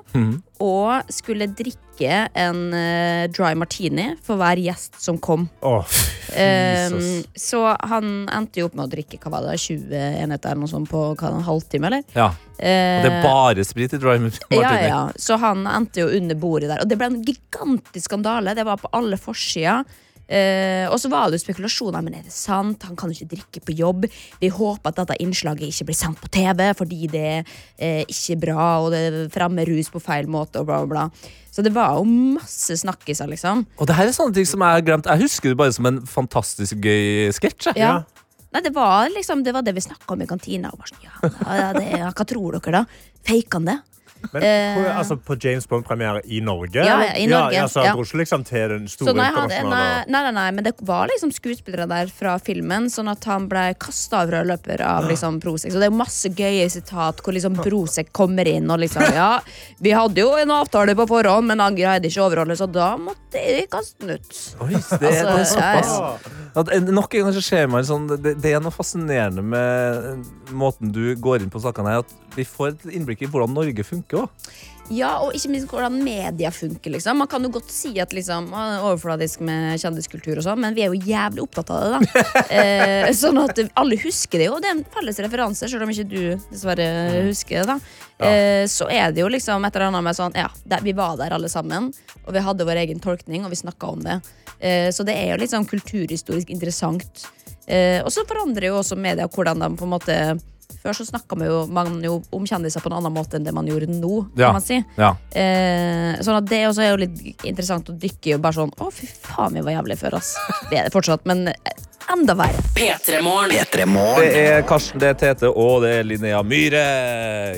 S9: og skulle drikke en eh, dry martini for hver gjest som kom.
S4: Åh,
S9: Um, så han endte jo opp med å drikke hva var det, 20 enheter eller noe sånt på hva, en halvtime, eller?
S3: Ja, og Det er
S9: Eh,
S3: bare sprit i Dry Martini.
S9: ja, ja. Så han endte jo under bordet der. Og det ble en gigantisk skandale. Det var på alle forsider. Eh, og så var det jo spekulasjoner. Men er det sant? Han kan jo ikke drikke på jobb. Vi håper at dette innslaget ikke blir sendt på TV, fordi det er eh, ikke bra, og det fremmer rus på feil måte, og bla, bla, bla. Så det var jo masse snakkiser, liksom.
S3: Og det her er sånne ting som jeg har glemt. Jeg husker det bare som en fantastisk gøy sketsj. jeg.
S9: Ja. Nei, det var liksom Det var det vi snakka om i kantina. Og bare sånn, ja, ja, det, ja, hva tror dere, da? Faka han det?
S4: Men hvor, altså, på James Bond-premiere i Norge?
S9: Ja,
S4: eller?
S9: i Norge,
S4: Ja, altså,
S9: ja.
S4: dro ikke liksom til den
S9: Så
S4: store
S9: nei, han, nei,
S4: internasjonale
S9: nei, nei, nei, men det var liksom skuespillere der fra filmen, sånn at han ble kasta av rød løper av liksom Prosek. Så det er jo masse gøye sitat hvor liksom Prosek kommer inn og liksom Ja, vi hadde jo en avtale på forhånd, men han greide ikke å overholde, så da måtte jeg kaste den ut.
S3: Oi, det, er- det er
S9: Altså, jeg-
S3: såpass. At en- nok en gang så ser man sånn det, det er noe fascinerende med måten du går inn på sakene her. At vi får et innblikk i hvordan Norge funker òg.
S9: Ja, og ikke minst hvordan media funker. liksom Man kan jo godt si at liksom man er overfladisk med kjendiskultur, og sånn men vi er jo jævlig opptatt av det. da eh, Sånn at alle husker det jo. Det er en felles referanse, selv om ikke du dessverre husker det. da eh, Så er det jo liksom et eller annet med sånn Ja, der, vi var der alle sammen, og vi hadde vår egen tolkning, og vi snakka om det. Eh, så det er jo liksom kulturhistorisk interessant. Eh, og så forandrer jo også media hvordan de på en måte før så snakka man, jo- man jo om kjendiser på en annen måte enn det man gjorde nå. kan man si Eh, sånn at det også er jo litt interessant å dykke i. Og bare sånn, å fy faen, vi var jævlig før, ass. Det er det fortsatt, men eh, enda verre.
S2: P3morgen.
S1: P3 Morgen.
S3: Det er Karsten, det er Tete og det er Linnea Myhre.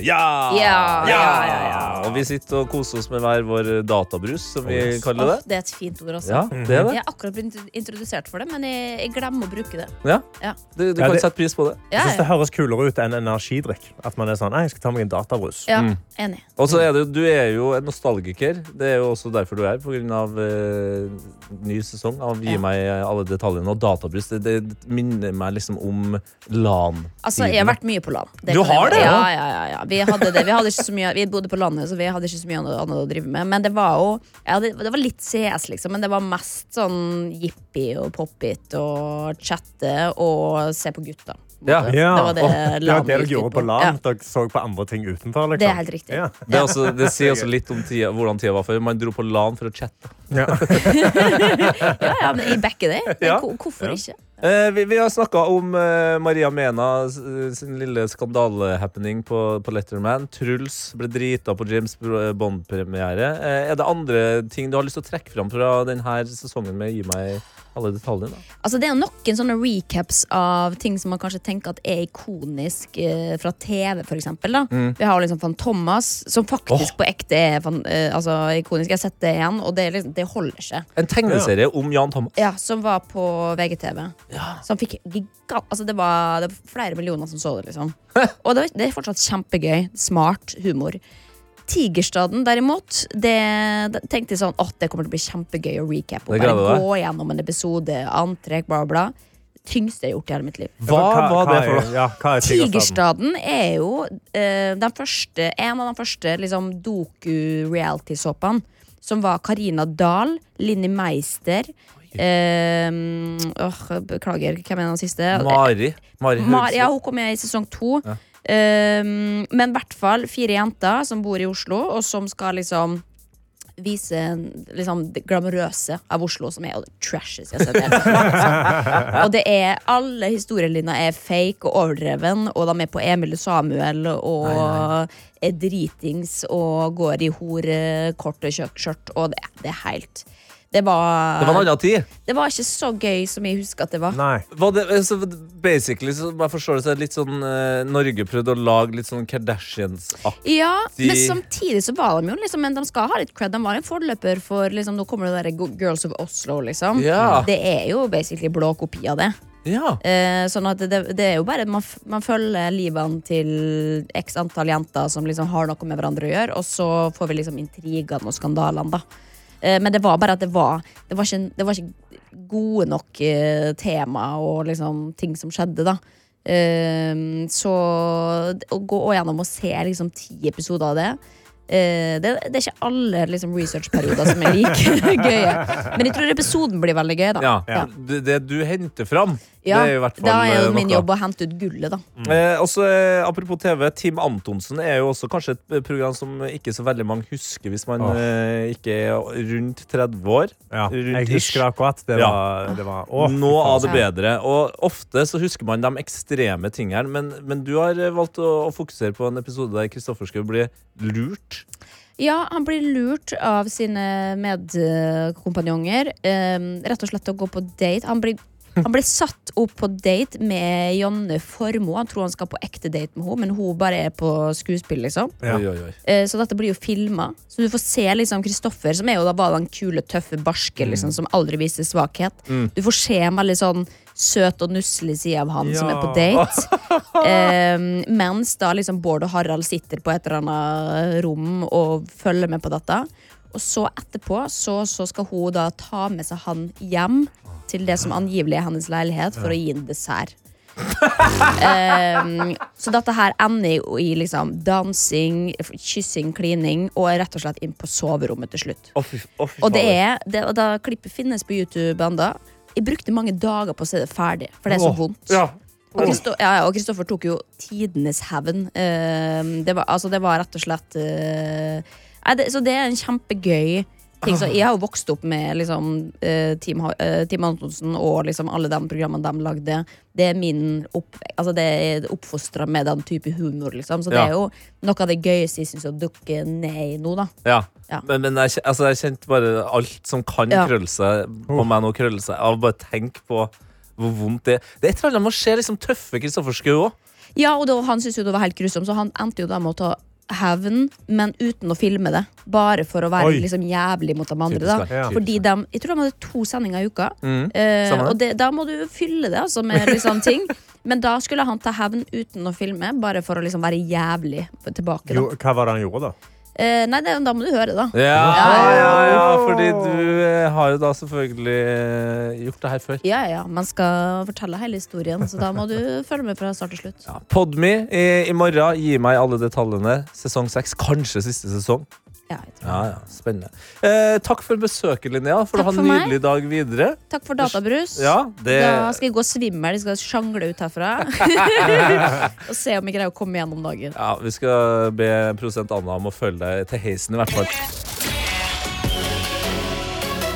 S3: Ja!
S9: Ja, ja, ja,
S3: Og vi sitter og koser oss med hver vår databrus, som vi kaller
S9: Åh,
S3: det.
S9: det er et fint ord også.
S3: Ja, det er det.
S9: Jeg er akkurat blitt intro- introdusert for det, men jeg, jeg glemmer å bruke det.
S3: Ja.
S9: Ja.
S3: Du, du
S4: Ja,
S3: kan
S4: det-
S3: sette pris på det.
S9: Ja,
S4: Jeg syns det
S9: ja.
S4: høres kulere ut enn energidrikk. At man er sånn, nei, jeg skal ta meg en databrus.
S9: ja
S3: Mm.
S9: enig.
S3: Og så er det, du er jo en nostalgiker. Det er jo også derfor du er her, på grunn av eh, ny sesong av Gi
S9: Ja.
S3: meg eh, alle detaljene og databrus. Det, det minner meg liksom om LAN.
S9: Altså, jeg har vært mye på land.
S3: Du
S9: kan jeg
S3: har
S9: si.
S3: det,
S9: Ja,
S3: ja?
S9: ja, ja, ja. Vi hadde det. Vi, hadde ikke så mye, vi bodde på landet, så vi hadde ikke så mye annet annet å drive med. Men det var jo ja, det, det var litt CS, liksom. Men det var mest sånn jippi og pop-it og chatte og se på gutta.
S3: Ja.
S4: Ja,
S9: Det var det
S4: og det, var
S9: LAN
S4: det
S9: gikk
S4: dere gjorde
S9: ut
S4: på
S9: på.
S4: LAN. Dere så på andre ting utenfor. Liksom.
S9: Det er helt riktig.
S4: Ja.
S3: Det, er også, det sier også litt om tida, hvordan tida var før. Man dro på LAN for å chatte.
S9: Ja, ja, men i back in day. Men
S3: Ja.
S9: ko- Hvorfor ikke?
S3: Eh, vi, vi har snakka om eh, Maria Mena s- sin lille skandalehappening på, på Letterman. Truls ble drita på James Bro- eh, Bond-premiere. Eh, er det andre ting du har lyst til å trekke fram fra denne sesongen med Gi meg alle detaljene? da?
S9: Altså, det er noen sånne recaps av ting som man kanskje tenker at er ikonisk eh, fra TV, for eksempel. Da. Vi har liksom Fan Thomas, som faktisk på ekte er fan, eh, altså, ikonisk. Jeg har sett det igjen, og det, er liksom, det holder seg.
S3: En tegneserie om Jan Thomas.
S9: Ja, Som var på VGTV. Som fikk giga- altså, det, var, det var flere millioner som så det, liksom. og det, var- det er fortsatt kjempegøy. Smart humor. Tigerstaden, derimot, det, det tenkte jeg sånn Åh, det kommer til å bli kjempegøy å recape. Og
S3: Det gleder
S9: bare
S3: du deg.
S9: gå gjennom en episode, antrekk, bla, bla. tyngste jeg har gjort i hele mitt liv.
S3: Hva var det for
S4: er-
S3: noe?
S4: Ja, hva er Tigerstaden?
S9: Tigerstaden er jo eh, den første, en av de første liksom, doku-reality-såpene, som var Karina Dahl, Linni Meister eh, åh, Beklager, hvem er den siste?
S3: Mari. Mari
S9: Mar ja,
S3: Haugseth.
S9: hun kom med i sesong to. Um, men i hvert fall fire jenter som bor i Oslo, og som skal liksom vise liksom, det glamorøse av Oslo, som er jo det trashes jeg har sett. i hele mitt liv. og det er alle historielinjer er fake og overdreven, og de er på Emil og Samuel og er dritings og går i horekort og kjøkkskjørt, og det, det er helt det var,
S3: Det var en annen tid.
S9: det var ikke så gøy som jeg husker at det var.
S4: Nei.
S3: Var det, altså, basically, så jeg forstår det, så er det litt sånn eh, Norge prøvde å lage litt sånn Kardashians-aktig
S9: Ja,
S3: De-
S9: men samtidig så var de jo liksom Men de skal ha litt cred. De var en forløper for liksom, Nå kommer det der Go- Girls of Oslo, liksom.
S3: Ja.
S9: Det er jo basically blå kopi av det.
S3: Ja.
S9: Eh, sånn at det, det er jo bare Man, f- man følger livene til x antall jenter som liksom har noe med hverandre å gjøre, og så får vi liksom intrigene og skandalene, da. Eh, men det var bare at det var Det var ikke, det var ikke gode nok eh, tema og liksom ting som skjedde, da. Eh, så d- å gå gjennom og se liksom ti episoder av det eh, det, det er ikke alle liksom, researchperioder som er like gøye. Men jeg tror episoden blir veldig gøy. da
S3: ja. Det, det du henter fram,
S9: ja,
S3: det er i hvert fall
S9: da er jo
S3: eh,
S9: min
S3: noe.
S9: jobb å hente ut gullet, da.
S3: Eh, også, eh, apropos TV, Team Antonsen er jo også kanskje et eh, program som ikke så veldig mange husker hvis man
S4: Åh.
S3: eh, ikke er rundt 30 år.
S4: Ja, jeg
S3: Rundt
S4: husker det akkurat. Det
S3: Ja.
S4: var, det var å, fy
S3: Noe
S4: faen.
S3: av det bedre. Og ofte så husker man de ekstreme tingene, men, men du har eh, valgt å, å fokusere på en episode der Kristoffer skal bli lurt.
S9: Ja, han blir lurt av sine medkompanjonger. eh, rett og slett å gå på date. Han blir, han blir satt opp på date med Janne Formoe. Han tror han skal på ekte date med henne, men hun bare er på skuespill, liksom.
S4: Ja.
S3: Oi, oi, oi.
S9: Eh, Så dette blir jo filma. Så du får se liksom Kristoffer, som er jo da bare den kule, tøffe, barske, liksom, som aldri viser svakhet. Du får se en veldig sånn søt og nusselig side av han som er på date. Eh, mens da liksom Bård og Harald sitter på et eller annet rom og følger med på dette. Og så etterpå så, så skal hun da ta med seg han hjem til det som angivelig er hennes leilighet, for å gi en dessert. Um, så dette her ender jo i liksom dansing, f- kyssing, klining og er rett og slett inn på soverommet til slutt.
S3: Å, fy- å, fy
S9: Og det
S3: fader.
S9: er, det, og da klippet finnes på YouTube enda Jeg brukte mange dager på å se det ferdig, for det er så vondt.
S3: ja.
S9: Og Kristo- ja, ja, og Kristoffer tok jo tidenes hevn. Um, det, var- altså, det var rett og slett uh, nei, det, Så det er en kjempegøy ting. Så jeg har jo vokst opp med liksom, uh, Team, Ha- uh, Team Antonsen og liksom alle de programmene de lagde. Det er min opp, altså, det er oppfostra med den type humor, liksom. Så det
S3: Ja.
S9: er jo noe av det gøyeste jeg syns å dukke ned i nå, da.
S3: Ja.
S9: Ja.
S3: Men, men jeg, kjen- altså, jeg kjente bare alt som kan
S9: Ja.
S3: krølle seg på meg nå, krølle seg av bare tenk på hvor vondt det er. Det er et eller annet med å se liksom, tøffe Kristoffer Schou òg.
S9: Ja, og da, han syntes jo det var helt grusomt, så han endte jo da med å ta hevn, men uten å filme det. Bare for å være
S4: Oi.
S9: liksom jævlig mot de andre.
S3: Typisk,
S9: Da.
S3: ja. Mm.
S9: Fordi de, Jeg tror de hadde to sendinger i uka.
S3: stemmer
S9: eh,
S3: det.
S9: og det, da må du fylle det altså, med litt sånne ting. Men da skulle han ta hevn uten å filme, bare for å liksom være jævlig for- tilbake. Da.
S4: Jo, hva var det han gjorde, da?
S9: Eh, nei, det, da må du høre, da.
S3: Ja, ja, ja, fordi du eh, har jo da selvfølgelig eh, gjort det her før.
S9: Ja, ja, man skal fortelle hele historien, så da må du følge med fra start til slutt.
S3: Ja, Podme i, i morgen. Gi meg alle detaljene. Sesong seks, kanskje siste sesong.
S9: Ja, jeg tror.
S3: Ja, ja, Spennende. Eh, takk for besøket, Linnea. For å
S9: Takk
S3: ha
S9: for
S3: en
S9: meg.
S3: nydelig dag videre.
S9: Takk for databrus.
S3: Ja, det
S9: Da skal jeg gå svimmel, jeg skal sjangle ut herfra. og se om jeg greier å komme gjennom dagen.
S3: ja, Vi skal be produsent Anna om å følge deg til heisen, i hvert fall.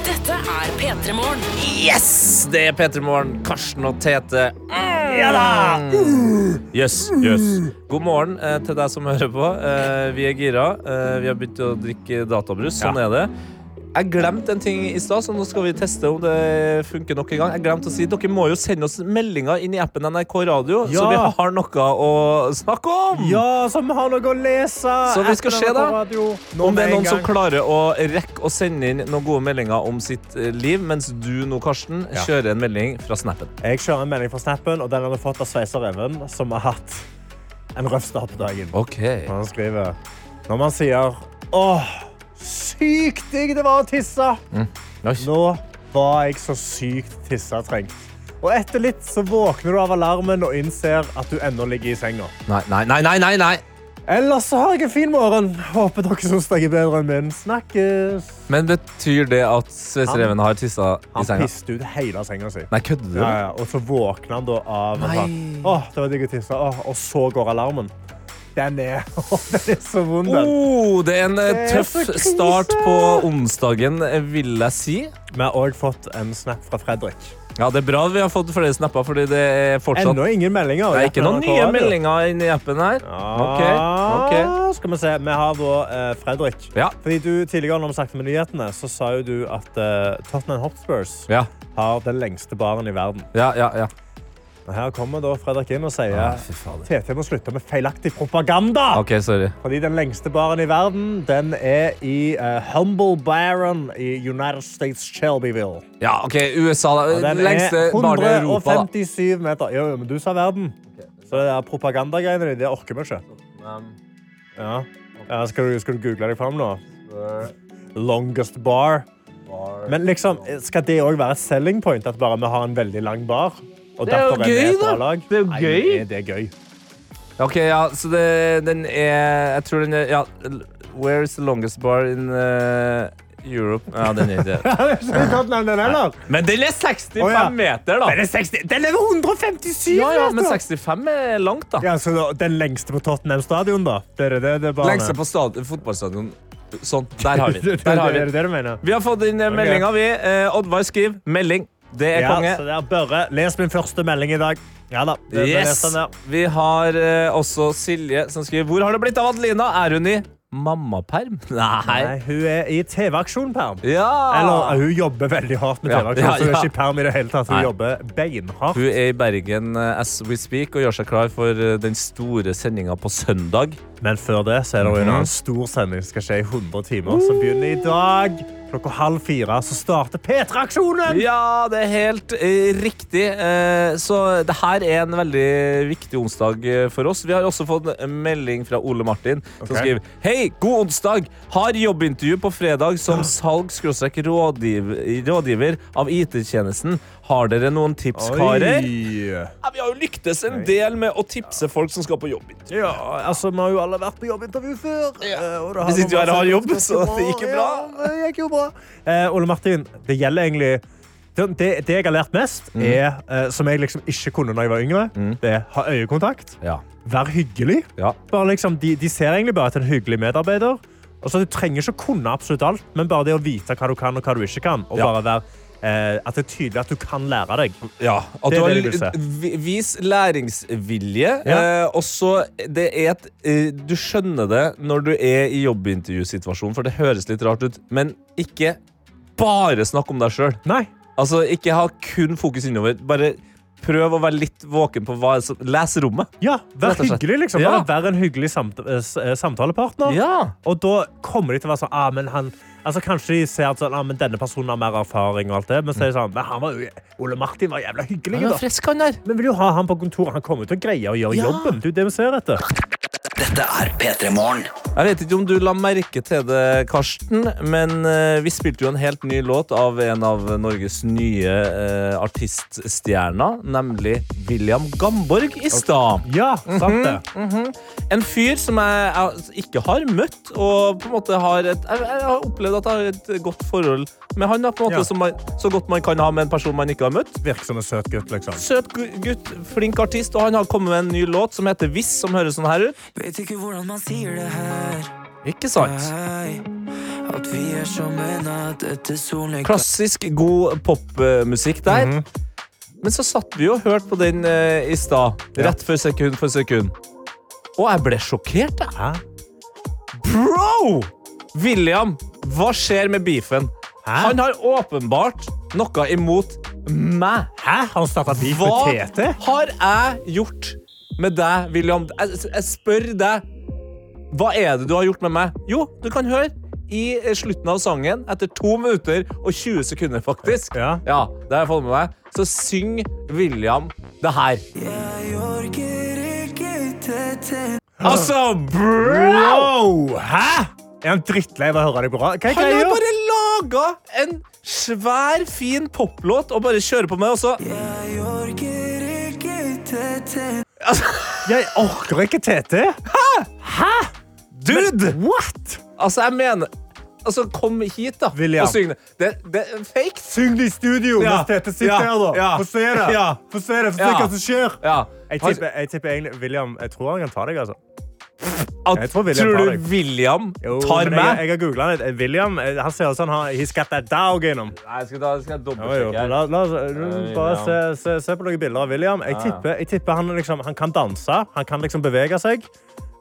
S2: Dette er P3 Morgen.
S3: Yes! Det er P3 Morgen. Karsten og Tete. Ja da! Yes, yes.
S4: Mm.
S3: God morgen eh, til deg som hører på. Eh, vi er gira. Eh, vi har begynt å drikke databrus. Sånn er det. Jeg glemte en ting i stad, så nå skal vi teste om det funker nok en gang. Jeg glemte å si, Dere må jo sende oss meldinger inn i appen NRK Radio, så
S4: Ja.
S3: vi har noe å snakke om!
S4: Ja, som har noe å lese!
S3: Så vi skal
S4: Etter
S3: se,
S4: den
S3: da.
S4: på radio. Nå
S3: Om det er
S4: med en
S3: noen som
S4: gang.
S3: klarer å rekke å sende inn noen gode meldinger om sitt eh, liv, mens du nå, Karsten,
S4: Ja.
S3: kjører en melding fra snappen.
S4: Jeg kjører en melding fra snappen, og den har du fått av sveisereven, som har hatt en røff start på dagen.
S3: Ok.
S4: Han skriver Når man sier Åh, sykt
S3: Mm.
S4: digg det var å tisse!
S3: Nice.
S4: Nå var jeg så sykt tissetrengt. Og etter litt så våkner du av alarmen og innser at du ennå ligger i senga.
S3: Nei, nei, nei, nei, nei, nei.
S4: Ellers så har jeg en fin morgen. Håper dere syns jeg er bedre enn min. Snakkes!
S3: Men betyr det at sveisereven har tissa i
S4: Han
S3: senga?
S4: pisset ut hele senga si.
S3: Nei, kødder du?
S4: Ja, ja. Og så våkner han da av at han, Åh, det var digg å tisse. Åh, og så går alarmen. Den er, den er så vond, den.
S3: Oh, det er en eh,
S4: Det er
S3: tøff
S4: så krise!
S3: start på onsdagen, eh, vil jeg si.
S4: Vi har òg fått en snap fra Fredrik.
S3: Ja, Det er bra vi har fått flere snapper, fordi det er fortsatt
S4: Ennå ingen meldinger.
S3: Det er ikke noen
S4: Jakten
S3: nye
S4: NRK Radio. Ah,
S3: meldinger inni appen her. Ok, ok.
S4: Skal vi se. Vi har da eh, Fredrik.
S3: Ja.
S4: Fordi du tidligere når vi snakket med nyhetene, så sa jo du at eh, Tottenham Hotspurs
S3: Ja,
S4: har den lengste baren i verden.
S3: ja, ja. ja.
S4: Og her kommer da Fredrik inn og sier
S3: Ah, fy fader.
S4: TT må slutte med feilaktig propaganda.
S3: OK, sorry.
S4: Fordi den lengste baren i verden, den er i eh, Humble Baron i United States Shelbyville.
S3: Ja, OK, USA. da.
S4: Og den
S3: Lengste
S4: er
S3: barn i Europa, da.
S4: 157 meter. Jo, jo, men du sa verden. Så det der propagandagreiene dine, det orker vi ikke. Ja. Ja, skal, du, skal du google deg fram nå? Longest bar. Men liksom, skal det òg være et selling point? At bare vi har en veldig lang bar? Og
S3: Det er jo
S4: derfor vi
S3: gøy,
S4: et bra
S3: da.
S4: lag?
S3: Det er jo
S4: Nei,
S3: gøy.
S4: men er det gøy.
S3: OK, ja, så det, den er Jeg tror den er Ja, where is the longest bar in eh, Europe? Ja, den er ikke det.
S4: Skal vi ta den den, eller?
S3: Men den er 65
S4: Å, ja.
S3: meter, da!
S4: Den er 60 Den er 157
S3: Ja, ja, men
S4: meter!
S3: 65 er langt, da.
S4: Ja, så da- den lengste på Tottenham stadion, da? Det er det, det er banen.
S3: Lengste på stad- fotballstadion. Sånn. Der har vi den. Der har vi
S4: Er
S3: den.
S4: det det du mener?
S3: Vi har fått inn eh, meldinga, vi. Eh, Oddvar skriver melding. Det er
S4: Ja,
S3: konge.
S4: så det er Børre. Les min første melding i dag. Ja da. Det, det
S3: Yes!
S4: leste han der.
S3: Vi har eh, også Silje som skriver Hvor har det blitt av Adelina? Er hun i mammaperm? Nei.
S4: Nei, hun er i TV-aksjon, Perm.
S3: Ja!
S4: Eller hun jobber veldig hardt med
S3: Ja,
S4: TV-aksjon, så hun
S3: ja,
S4: er
S3: ja.
S4: ikke i perm i det hele tatt. Hun
S3: Nei.
S4: jobber beinhardt.
S3: Hun er i Bergen eh, as we speak og gjør seg klar for eh, den store sendinga på søndag.
S4: Men før det så er det jo en
S3: Mhm.
S4: annen stor sending som skal skje i 100 timer, som begynner i dag. Klokka halv fire så starter P3-aksjonen!
S3: Ja, det er helt eh, riktig. Eh, så det her er en veldig viktig onsdag eh, for oss. Vi har også fått en melding fra Ole Martin, som
S4: Ok.
S3: skriver Hei, god onsdag! Har jobbintervju på fredag som salg-rådgiver rådgiver av IT-tjenesten. Har dere noen tips, karer?
S4: Oi.
S3: Ja, vi har jo lyktes en del med å tipse folk som skal på jobbintervju.
S4: Ja, altså, vi har jo alle vært på jobbintervju før. eh, og det
S3: Vi sitter jo her og har
S4: vært
S3: jobb,
S4: ganske
S3: så det gikk jo bra.
S4: Ja, det gikk jo bra. Eh, Ole Martin, det gjelder egentlig det, det, det jeg har lært mest,
S3: Mm.
S4: er, eh, som jeg liksom ikke kunne når jeg var yngre, det er ha øyekontakt.
S3: Ja.
S4: Vær hyggelig.
S3: Ja.
S4: Bare liksom, de, de ser egentlig bare etter en hyggelig medarbeider. Og så Du trenger ikke å kunne absolutt alt, men bare det å vite hva du kan og hva du ikke kan. Og
S3: Ja. Mm.
S4: bare være, eh, at det er tydelig at du kan lære deg.
S3: Ja, at
S4: Det
S3: du
S4: er
S3: har
S4: det jeg vil si.
S3: vi- Vis læringsvilje.
S4: Ja.
S3: Eh, og så det er et eh, Du skjønner det når du er i jobbintervjusituasjonen, for det høres litt rart ut, men ikke bare snakk om deg sjøl.
S4: Nei.
S3: Altså, ikke ha kun fokus innover. Bare prøv å være litt våken på hva som Les rommet.
S4: Ja, Vær
S3: Rett og slett.
S4: hyggelig, liksom.
S3: Ja.
S4: Bare vær en hyggelig samt, eh, s- eh, samtalepartner.
S3: Ja.
S4: Og da kommer de til å være sånn ah, men han, altså Kanskje de ser at sånn, ah, men denne personen har mer erfaring, og alt det, men så er de sånn men han var jo, Ole Martin var jævla hyggelig.
S3: Han er
S4: da.
S3: frisk, han der.
S4: Men vil jo ha han på kontoret. Han kommer til å greie å gjøre
S3: Ja.
S4: jobben. Det er jo det vi ser etter.
S1: Dette er P3 Morgen.
S3: Jeg vet ikke om du la merke til det, Karsten, men eh, vi spilte jo en helt ny låt av en av Norges nye eh, artiststjerner, nemlig William Gamborg i stad.
S4: Ja, sant det.
S3: Mhm, En fyr som jeg, jeg ikke har møtt, og på en måte har et Jeg, jeg har opplevd at jeg har et godt forhold med han, da, på en måte
S4: Ja.
S3: som man, så godt man kan ha med en person man ikke har møtt.
S4: Virker som en søt gutt, liksom.
S3: Søt gu- gutt, flink artist, og han har kommet med en ny låt som heter Hvis, som høres sånn her ut.
S1: Vet ikke hvordan man sier det her.
S3: Ikke sant?
S1: Hei, at vi er som en natt etter solen
S3: Klassisk god popmusikk der. Men så satt vi jo og hørte på den eh, i stad, rett før sekund for sekund. Og jeg ble sjokkert, jeg.
S4: Hæ?
S3: Bro! William, hva skjer med beefen?
S4: Hæ?
S3: Han har åpenbart noe imot meg.
S4: Hæ? Han starta beef med
S3: Hva
S4: TT?
S3: har jeg gjort med deg, William? Jeg, jeg spør deg. Hva er det du har gjort med meg? Jo, du kan høre. I eh, slutten av sangen, etter to minutter og 20 sekunder, faktisk,
S4: Ja.
S3: Ja, det har jeg fått med meg. Så syng William det her.
S1: Jeg orker ikke dette
S3: Altså, bro!
S4: Wow! Hæ? Er han drittlei av å høre deg på rad? Hva er
S3: Han har
S4: greia?
S3: bare laga en svær, fin poplåt og bare kjører på med det, og så
S1: Jeg
S4: Jeg orker ikke TT.
S3: Dude!
S4: What?
S3: Altså, jeg mener Altså, kom hit, da,
S4: William.
S3: og syng det. Det, det er fake.
S4: Syng det i studio
S3: Ja.
S4: mens TT sitter
S3: Ja.
S4: her, da.
S3: Ja.
S4: Få se det.
S3: Ja.
S4: Få se det. Få se
S3: Ja.
S4: hva som skjer.
S3: Ja.
S4: Jeg
S3: Han-
S4: tipper, jeg tipper egentlig William Jeg tror han kan ta deg, altså.
S3: at,
S4: jeg tror William
S3: tror
S4: tar
S3: du
S4: deg.
S3: William tar
S4: men
S3: meg?
S4: Jeg, jeg har googla det. William eh, han ser ut som han har He's got that dog in him.
S3: Nei, jeg skal, da, skal jeg
S4: Ja, jo.
S3: dobbeltsjekke her.
S4: La, la, oss- eh,
S3: William.
S4: bare se, se, se på noen bilder av William. Jeg
S3: Ja, ja.
S4: tipper, jeg tipper han, liksom, han kan danse. Han kan liksom bevege seg.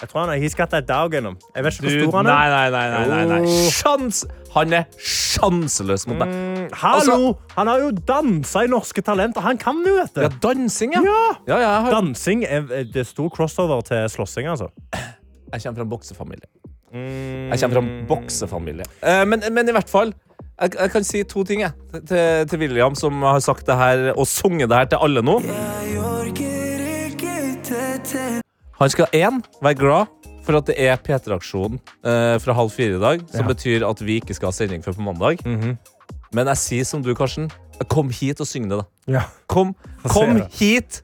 S4: Jeg tror han er He's got that dog in him. Jeg vet ikke
S3: Du,
S4: hvor stor
S3: nei,
S4: han
S3: nei,
S4: er.
S3: nei. nei, nei, nei.
S4: Jo. Mm.
S3: Sjans, han er sjanseløs mot deg.
S4: Hallo!
S3: Altså-
S4: han har jo dansa i Norske Talenter. Han kan jo dette.
S3: Ja, dansing, ja.
S4: Ja.
S3: ja, ja jeg, har,
S4: Dansing er, eh, det er stor crossover til slåssing, altså.
S3: jeg kommer fra en boksefamilie. Jeg kommer fra
S4: Mm.
S3: en boksefamilie. Eh, men, men i hvert fall jeg, jeg kan si to ting jeg, til, til William, som har sagt det her og sunget det her til alle nå. Han skal én være glad for at det er P3-aksjonen eh, fra halv fire i dag, som betyr at vi ikke skal ha sending før på mandag.
S4: Mhm.
S3: Men jeg sier som du, Karsten. Kom hit og syng det, da. Kom,
S4: se
S3: kom
S4: det.
S3: hit!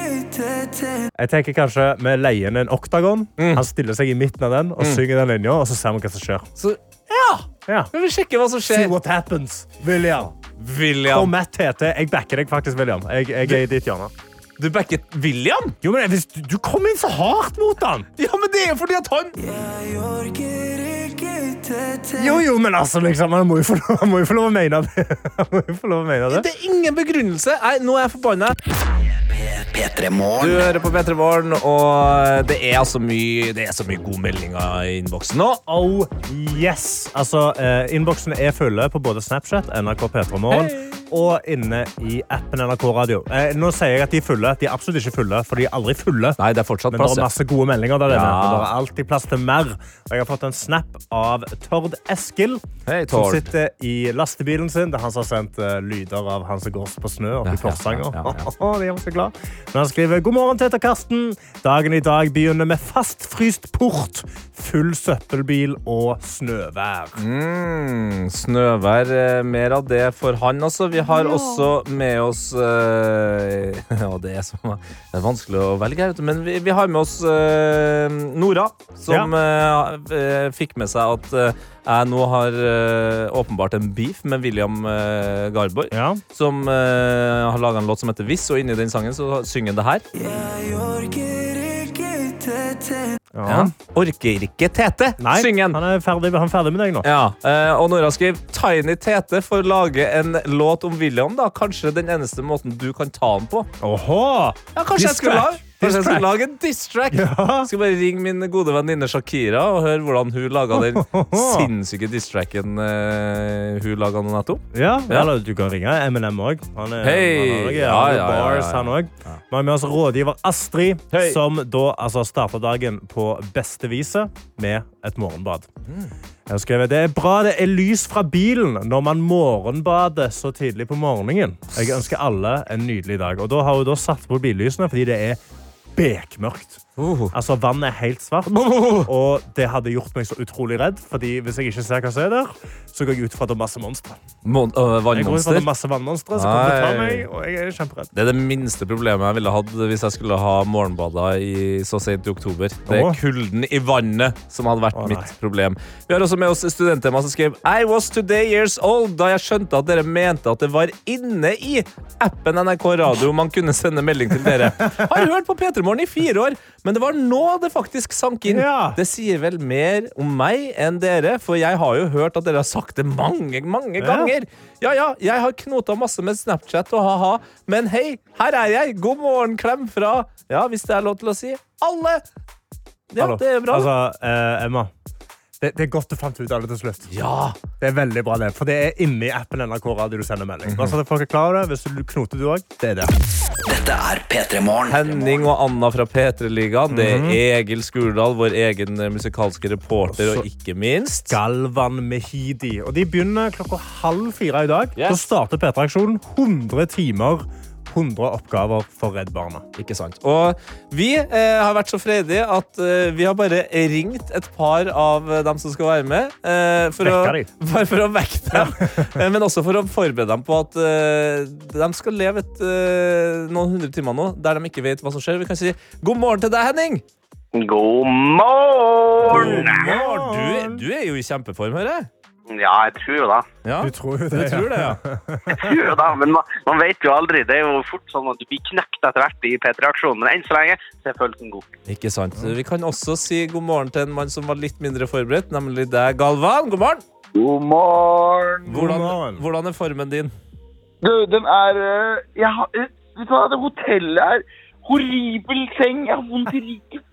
S4: Jeg tenker kanskje Vi leier inn en oktagon.
S3: Mm.
S4: Han stiller seg i midten av den og synger den linja, og så ser vi hva som skjer.
S3: Så, ja!
S4: Ja.
S3: Vi vil sjekke hva som
S4: See
S3: skjer.
S4: what happens, William. Kom
S3: William.
S4: med, TT. Jeg backer deg faktisk, William. Jeg, jeg er i ditt hjørne.
S3: Du backet William?
S4: Jo, men hvis du, du kom inn så hardt mot han!
S3: Ja, men det er jo fordi at han
S4: Jo, jo, men altså, liksom, han må jo få lov, han må jo få lov å mene det. Han må jo få lov å mene det.
S3: Det er ingen begrunnelse. Jeg, nå er jeg forbanna. Du
S7: P3morgen.
S3: hører på P3 Morgen, og det er altså mye Det er så mye gode meldinger i innboksen nå.
S4: Oh yes! Altså, eh, Innboksen er fulle på både Snapchat, NRK P3 Morgen og inne i appen NRK Radio. Eh, nå sier jeg at de er fulle. De er absolutt ikke fulle, for de er aldri fulle.
S3: Nei, det er fortsatt
S4: Men det
S3: plass.
S4: er
S3: ja.
S4: masse gode meldinger der inne.
S3: Ja.
S4: Og det er alltid plass til mer. Og jeg har fått en snap av Tord Eskil,
S3: Hei,
S4: som
S3: Tord.
S4: sitter i lastebilen sin. Det er han som har sendt eh, lyder av han som går på snø oppe
S3: Ja,
S4: i Porsanger.
S3: ja, ja, ja.
S4: Å, det gjør meg så glad. Men han skriver God morgen, Tete og Karsten. Dagen i dag begynner med fastfryst port, full søppelbil og snøvær.
S3: Mm, snøvær. eh, Mer av det for han, altså. Vi har også med oss eh, Ja, det er, så, det er vanskelig å velge her, vet du. Men vi, vi har med oss eh, Nora, som eh, eh, fikk med seg at eh, jeg nå har eh, åpenbart en beef med William eh, Garborg.
S4: Ja.
S3: Som eh, har laga en låt som heter Hvis, og inni den sangen så synger han det her. Ja. Orker ikke Tete,
S4: Nei,
S3: synger han.
S4: han er ferdig, han er ferdig med deg nå.
S3: Ja, eh, og Nora skriver Tiny Tete får lage en låt om William da Kanskje den eneste måten du kan ta han på
S4: Åhå!
S3: Ja, kanskje jeg
S4: Diss
S3: skulle lage Kanskje jeg skulle
S4: track. Diss track.
S3: lage en diss-track
S4: Ja.
S3: Skal bare ringe min gode venninne Shakira Og høre hvordan hun laget den sinnssyke diss-tracken eh, Hun laget nå nettopp
S4: Ja,
S3: Ja.
S4: eller du kan ringe Eminem òg. Han er
S3: Hei!
S4: han har
S3: Ja,
S4: noe
S3: ja, ja, ja,
S4: bars,
S3: ja.
S4: han også. Vi har med oss rådgiver Astrid,
S3: Hei.
S4: som da altså, starta dagen på beste viset med et morgenbad.
S3: Mm.
S4: Jeg har skrevet, Det er bra det er lys fra bilen når man morgenbader så tidlig på morgenen. Jeg ønsker alle en nydelig dag. Og da har hun da satt på billysene fordi det er bekmørkt. Altså, vannet er helt svart, og det hadde gjort meg så utrolig redd. Fordi hvis jeg ikke ser hva som er der, så går jeg ut fra at det er masse monstre.
S3: Mon øh,
S4: Jeg går ut fra
S3: Vannmonster
S4: at det er masse vannmonstre som kommer til å ta
S3: Nei.
S4: meg, og jeg er kjemperedd.
S3: det er det minste problemet jeg ville hatt Hvis jeg skulle ha morgenbada i så sent i oktober Det er
S4: Åh.
S3: kulden i vannet som hadde vært
S4: Å, nei.
S3: mitt problem Vi har også med oss studenthemma som skrev I was today years old Da jeg skjønte at dere mente at det var inne i appen NRK Radio Man kunne sende melding til dere Har hørt på Petremorgen i fire år Men det var nå det faktisk sank inn
S4: Ja.
S3: Det sier vel mer om meg enn dere For jeg har jo hørt at dere har sagt det mange, mange
S4: Ja.
S3: ganger ja, ja, jeg har knota masse med Snapchat og ha-ha, men hei, her er jeg! God morgen, klem fra Ja, hvis det er lov til å si alle! Ja,
S4: Hallo.
S3: det er bra.
S4: Altså, eh, Emma. Det, det er godt du fant ut av det til slutt.
S3: Ja!
S4: Det er veldig bra det, for det er inni appen NRK Radio du sender melding.
S3: Mhm.
S4: Bare så at folk er klar over det. Hvis du knoter, du òg. Det er det.
S7: Dette er P3morgen.
S3: Henning og Anna fra P3-ligaen. Det
S4: Mhm.
S3: er Egil Skurdal, vår egen eh, musikalske reporter, og ikke minst
S4: Galvan Mehidi. Og de begynner klokka halv fire i dag.
S3: Yes.
S4: Så starter P3-aksjonen 100 timer 100 oppgaver for Redd Barna.
S3: Ikke sant. Og vi eh, har vært så freidige at eh, vi har bare ringt et par av eh, dem som skal være med. Eh, for, å,
S4: Vekka de.
S3: bare for å vekke dem, Eh, men også for å forberede dem på at eh, de skal leve et, eh, noen hundre timer nå der de ikke vet hva som skjer. Vi kan si god morgen til deg, Henning!
S10: God morgen!
S3: Du, du er jo i kjempeform, hører jeg.
S10: Ja, jeg tror jo det.
S3: Ja,
S4: Du tror jo
S3: du
S4: det, ja.
S3: tror det, ja.
S10: Tror jo det, men man, man vet jo aldri. Det er jo fort sånn at du blir knekt etter hvert i P3-aksjonen. Men enn så lenge så er følelsen god.
S3: Ikke sant. Vi kan også si god morgen til en mann som var litt mindre forberedt, nemlig deg, Galvan. God morgen!
S10: God morgen!
S3: Hvordan,
S4: morgen.
S3: hvordan er formen din?
S10: Du, den er eh, Jeg har eh, Vet du hva, det hotellet er horribel seng. Jeg har vondt i ryggen.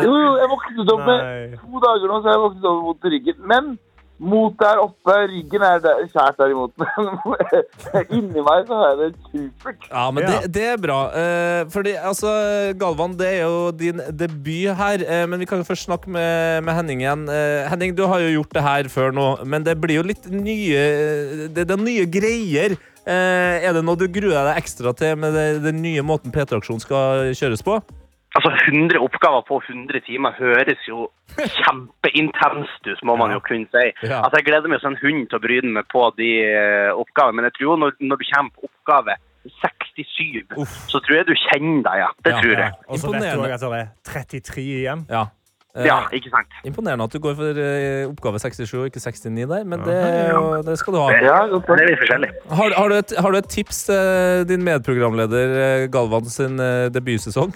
S10: Jo, jo, jeg våknet opp med
S4: Nei.
S10: to dager nå, så jeg våknet opp med vondt i ryggen. Men mot der oppe, ryggen er der, kjært derimot. Inni meg så har jeg det supert.
S3: Ja, men
S4: Ja.
S3: Det, det er bra. Eh, fordi, altså, Galvan, det er jo din debut her. eh, men vi kan jo først snakke med, med Henning igjen. Eh, Henning, du har jo gjort det her før nå, men det blir jo litt nye Det, det er nye greier. Eh, er det noe du gruer deg ekstra til med det- den nye måten P3-aksjonen skal kjøres på?
S10: Altså, 100 oppgaver på 100 timer høres jo kjempeintenst ut, må man jo kunne si.
S3: Ja.
S10: Altså, Jeg gleder meg som en hund til å bryne meg på de eh, oppgavene, men jeg tror jo når, når du kommer på oppgave 67, så tror jeg du kjenner deg, ja. Det
S3: Ja,
S10: tror
S4: Ja,
S10: jeg.
S4: og så vet du
S3: Imponerende.
S4: også at det er 33 igjen.
S3: Ja. Eh,
S10: Ja, ikke sant?
S3: Imponerende at du går for eh, oppgave 67 og ikke 69 der, men det, er jo- det skal du ha.
S10: Ja, det er litt forskjellig.
S3: Har, har, du et, har du et tips til din medprogramleder eh, Galvan sin eh, debutsesong?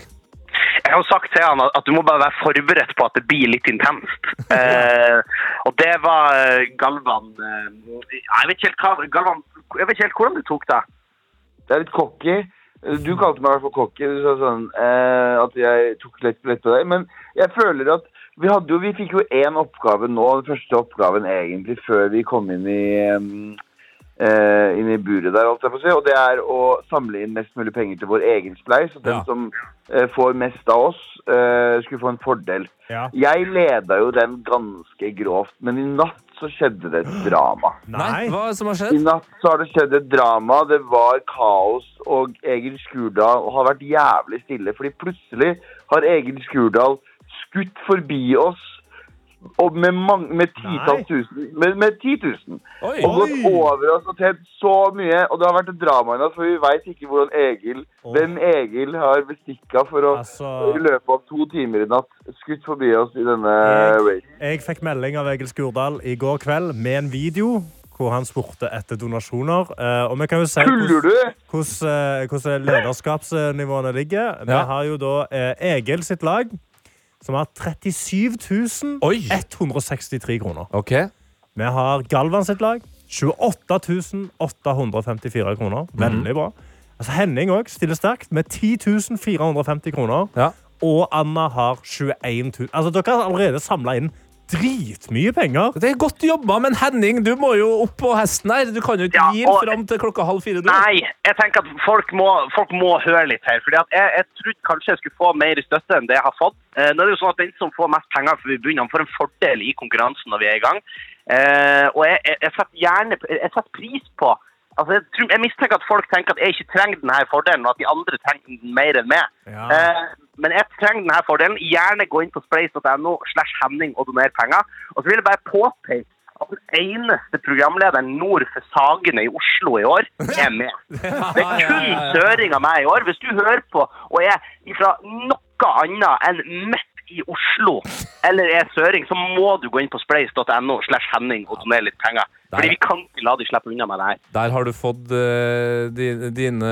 S10: Jeg har jo sagt til han at- at du må bare være forberedt på at det blir litt intenst. Eh, og det var eh, Galvan eh, Jeg vet ikke helt hva Galvan, jeg vet ikke helt hvordan du tok det.
S11: Det er litt cocky. Du kalte meg i hvert fall cocky. Du sa sånn eh, at jeg tok lett, lett på deg. Men jeg føler at vi, hadde jo, vi fikk jo én oppgave nå, den første oppgaven egentlig, før vi kom inn i, em, eh, inn i buret der, holdt jeg på å si. Og det er å samle inn mest mulig penger til vår egen spleis. At den
S3: Ja.
S11: som eh, får mest av oss, eh, skulle få en fordel.
S4: Ja.
S11: Jeg leda jo den ganske grovt, men i natt så skjedde det et drama.
S3: Nei, hva er det som har
S11: I
S3: skjedd?
S11: natt så har det skjedd et drama. Det var kaos, og Egil Skurdal har vært jævlig stille. Fordi plutselig har Egil Skurdal skutt forbi oss og med, mang- med titalls tusen. Med, med 10 000.
S3: Oi.
S11: Og gått over oss og tjent så mye. Og det har vært et drama i natt, for vi veit ikke hvordan Egil,
S4: Åh.
S11: hvem Egil har bestikka for å i
S4: Altså,
S11: løpet av to timer i natt skutt forbi oss i denne
S4: Jeg-
S11: racen.
S4: jeg fikk melding av Egil Skurdal i går kveld med en video hvor han spurte etter donasjoner. Eh, Og vi kan jo si
S11: Tuller du?
S4: hvordan, eh, hvordan lederskapsnivåene ligger. Vi
S3: Ja.
S4: har jo da eh, Egil sitt lag, som har 37
S3: Oi.
S4: 163 kroner.
S3: Ok.
S4: Vi har Galvan sitt lag. 28 854 kroner. Veldig bra. Altså Henning òg stiller sterkt med 10 450 kroner.
S3: Ja.
S4: Og Anna har 21 000. Altså, dere har allerede samla inn dritmye penger.
S3: Det er godt jobba, men Henning, du må jo opp på hesten her. Du kan jo ikke
S10: Ja,
S3: gi
S10: og-
S3: fram til klokka halv fire. Du.
S10: Nei, jeg tenker at folk må, folk må høre litt her. Fordi at jeg, jeg trodde kanskje jeg skulle få mer støtte enn det jeg har fått. Eh, nå er det jo sånn at Den som får mest penger fra bunnen, får en fordel i konkurransen når vi er i gang. Eh, og jeg, jeg, jeg setter gjerne jeg setter pris på Altså, jeg, tror, jeg mistenker at folk tenker at jeg ikke trenger denne fordelen, og at de andre trenger den mer enn meg.
S4: Ja.
S10: Eh, men jeg trenger denne fordelen. Gjerne gå inn på spleis.no slash Henning og doner penger. Og så vil jeg bare påpeke at den eneste programlederen nord for Sagene i Oslo i år er med. Det er kun søring av meg i år. Hvis du hører på og er fra noe annet enn midt i Oslo eller er søring, så må du gå inn på spleis.no slash Henning og donere litt penger. Fordi vi kan ikke la de slippe unna med det her.
S3: Der har du fått eh, di- dine,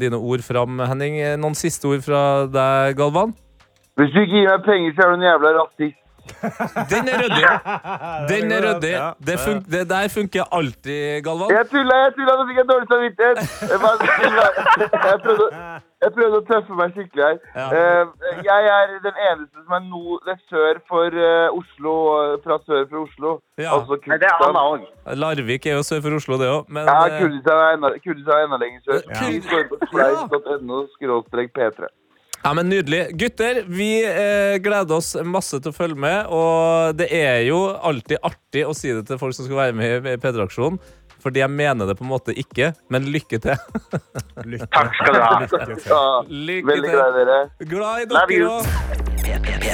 S3: dine ord fram, Henning. Eh, Noen siste ord fra deg, Galvan?
S11: Hvis du ikke gir meg penger, så er du en jævla rasist.
S3: Den er ryddig. Den er ryddig.
S4: Ja,
S3: Det, fun det der funker alltid, Galvan.
S11: Jeg tulla, jeg tulla, nå fikk jeg dårlig samvittighet. Jeg, bare, jeg, prøvde, jeg prøvde å tøffe meg skikkelig her. Eh, Jeg er den eneste som er no, det er sør for eh, Oslo, eh, fra sør for Oslo.
S3: Ja.
S11: Altså
S10: Nei, det er
S11: Kurdistan.
S10: Anna òg.
S3: Larvik er jo sør for Oslo, det òg. Men
S11: Ja,
S3: eh,
S11: Kurdistan er enda, Kurdistan er enda lenger sør.
S3: Ja.
S11: Vi går på spleis.no skråstrek P3.
S3: Ja, men Nydelig. Gutter, vi eh, gleder oss masse til å følge med. Og det er jo alltid artig å si det til folk som skal være med i P3-aksjonen. Fordi jeg mener det på en måte ikke, men lykke til.
S11: Takk skal du ha.
S3: Lykke
S11: Veldig
S3: til.
S11: glad i dere.
S3: Glad i
S11: Love
S3: dere
S11: you.
S3: òg.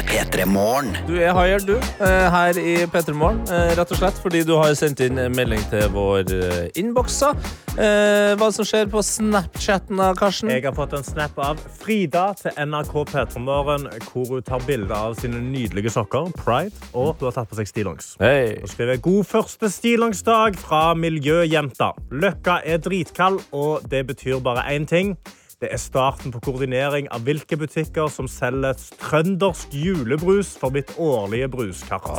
S3: Du er haier, du, eh, her i P3 Morgen. eh, Rett og slett fordi du har sendt inn en melding til vår eh, innboks. da. Eh, Hva som skjer på Snapchatten da, Karsten?
S4: Jeg har fått en snap av Frida til NRK P3morgen, hvor hun tar bilde av sine nydelige sokker, Pride, og hun har tatt på seg stillongs.
S3: Hei.
S4: Og skriver God første stillongstag fra Miljøjenta. Løkka er dritkald, og det betyr bare én ting. Det er starten på koordinering av hvilke butikker som selger trøndersk julebrus for mitt årlige bruskart.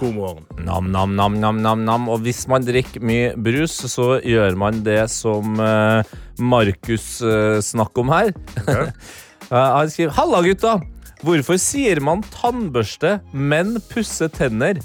S4: God morgen.
S3: Nam, nam, nam, nam, nam, nam. Og hvis man drikker mye brus, så gjør man det som eh, Markus eh, snakker om her. Eh, Han skriver Halla, gutta! Hvorfor sier man tannbørste, men pusse tenner?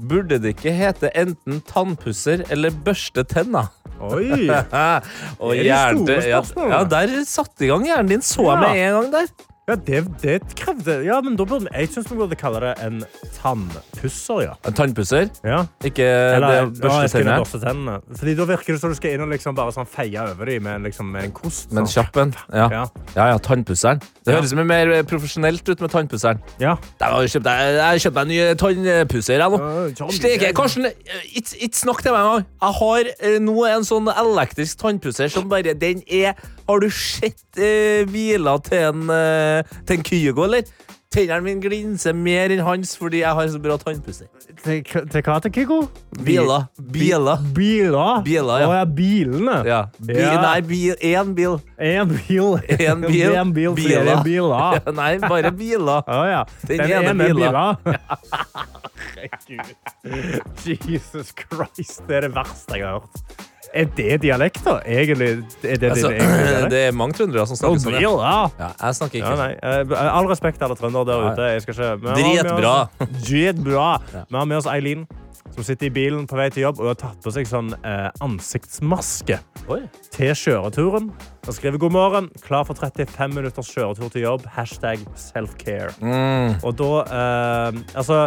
S3: Burde det ikke hete enten tannpusser eller børste tenna?
S4: Oi!
S3: Og
S4: Det er de store
S3: hjernen- ja,
S4: spørsmålene.
S3: ja, der satte i gang hjernen din, så jeg
S4: Ja.
S3: med en gang der.
S4: Ja, det, det krevde Ja, men da burde jeg syns vi burde kalle det en tannpusser, ja.
S3: En tannpusser,
S4: ja.
S3: ikke
S4: Eller,
S3: Eh, det
S4: ja, jeg
S3: børste
S4: skal inn og
S3: tenner.
S4: børste tennene. Fordi da virker det som du skal inn og liksom bare sånn feie over dem med, en- liksom, med en kost.
S3: Men
S4: sånn.
S3: kjapp en. Ja.
S4: Ja.
S3: ja, ja, tannpusseren. Det
S4: Ja.
S3: høres mye mer eh, profesjonelt ut med tannpusseren.
S4: Ja.
S3: Der har jeg, kjøpt, jeg, jeg har kjøpt meg en ny eh, tannpusser. Jeg, nå.
S4: Ja, ja, tannpusser.
S3: Steke, Karsten, eh, ikke ikke snakk til meg engang. Jeg har eh, nå en sånn elektrisk tannpusser som bare Den er Har du sett eh, hvila til en, eh, til en Kygo, eller? Tennene mine glinser mer enn hans fordi jeg har så bra tannpusser.
S4: Til, til hva til Kygo?
S3: Biler. Biler.
S4: Biler?
S3: Biler, ja.
S4: Å ja, bilene.
S3: Ja. Bi, nei, bi- én bil.
S4: En bil.
S3: En bil.
S4: En bil. Flere
S3: Biler.
S4: biler.
S3: Nei, bare biler.
S4: Å ja.
S3: Den ene biler.
S4: Herregud. Jesus Christ, det er det verste jeg har hørt. Er det dialekter, egentlig? Er det
S3: Altså,
S4: din egen dialekt?
S3: det er mange trøndere som
S4: Og
S3: snakker sånn. Ja.
S4: biler.
S3: Ja, jeg snakker ikke
S4: Ja, nei. eh, All respekt til alle trøndere der
S3: Ja.
S4: ute. Jeg skal ikke... men vi har med
S3: Dritbra.
S4: oss- Dritbra. Vi har med oss Eileen, som sitter i bilen på vei til jobb og har tatt på seg sånn eh, ansiktsmaske
S3: Oi.
S4: til kjøreturen. Og skriver god morgen, klar for 35 minutters kjøretur til jobb. Hashtag self-care.
S3: Mm.
S4: Og da eh, Altså,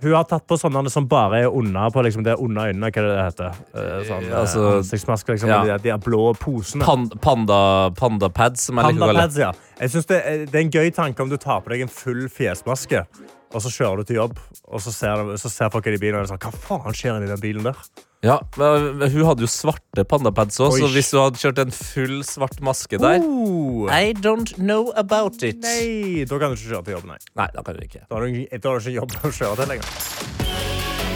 S4: hun har tatt på sånne som bare er unna på liksom, det er unna øynene, hva er det det heter. Eh, sånn, eh,
S3: Altså,
S4: ansiktsmaske, liksom.
S3: ja.
S4: De, der- de der blå posene.
S3: Pan, panda, panda pads, som jeg liker å kalle det.
S4: Pandapads, ja. Jeg synes det, er- det er en gøy tanke om du tar på deg en full fjesmaske, og så kjører du til jobb, og så ser, så ser folk i bilen og er sånn Hva faen skjer inni den bilen der?
S3: Ja, men hun hadde jo svarte pandapads òg, så
S4: Oi.
S3: hvis hun hadde kjørt en full svart maske der
S4: Oh,
S3: I don't know about it. Nei,
S4: nei, da kan du ikke kjøre til jobb, nei.
S3: da kan du ikke.
S4: Da har du, da har du ikke jobb å kjøre til lenger.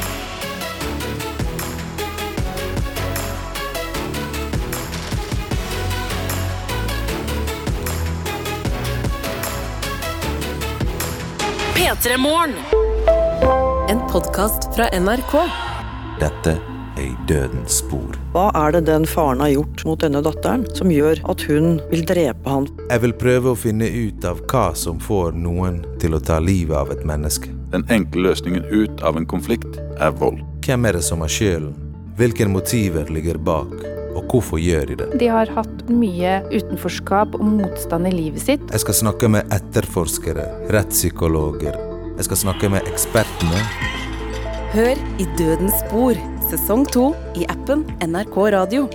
S2: P3 Morgen.
S12: En podkast fra NRK.
S13: Dette er i dødens spor.
S14: Hva er det den faren har gjort mot denne datteren som gjør at hun vil drepe han?
S13: Jeg vil prøve å finne ut av hva som får noen til å ta livet av et menneske.
S15: Den enkle løsningen ut av en konflikt er vold.
S13: Hvem er det som har skylden? Hvilke motiver ligger bak? Og hvorfor gjør de det?
S16: De har hatt mye utenforskap og motstand i livet sitt.
S13: Jeg skal snakke med etterforskere, rettspsykologer. Jeg skal snakke med ekspertene.
S12: Hør I dødens spor, sesong to i appen NRK Radio.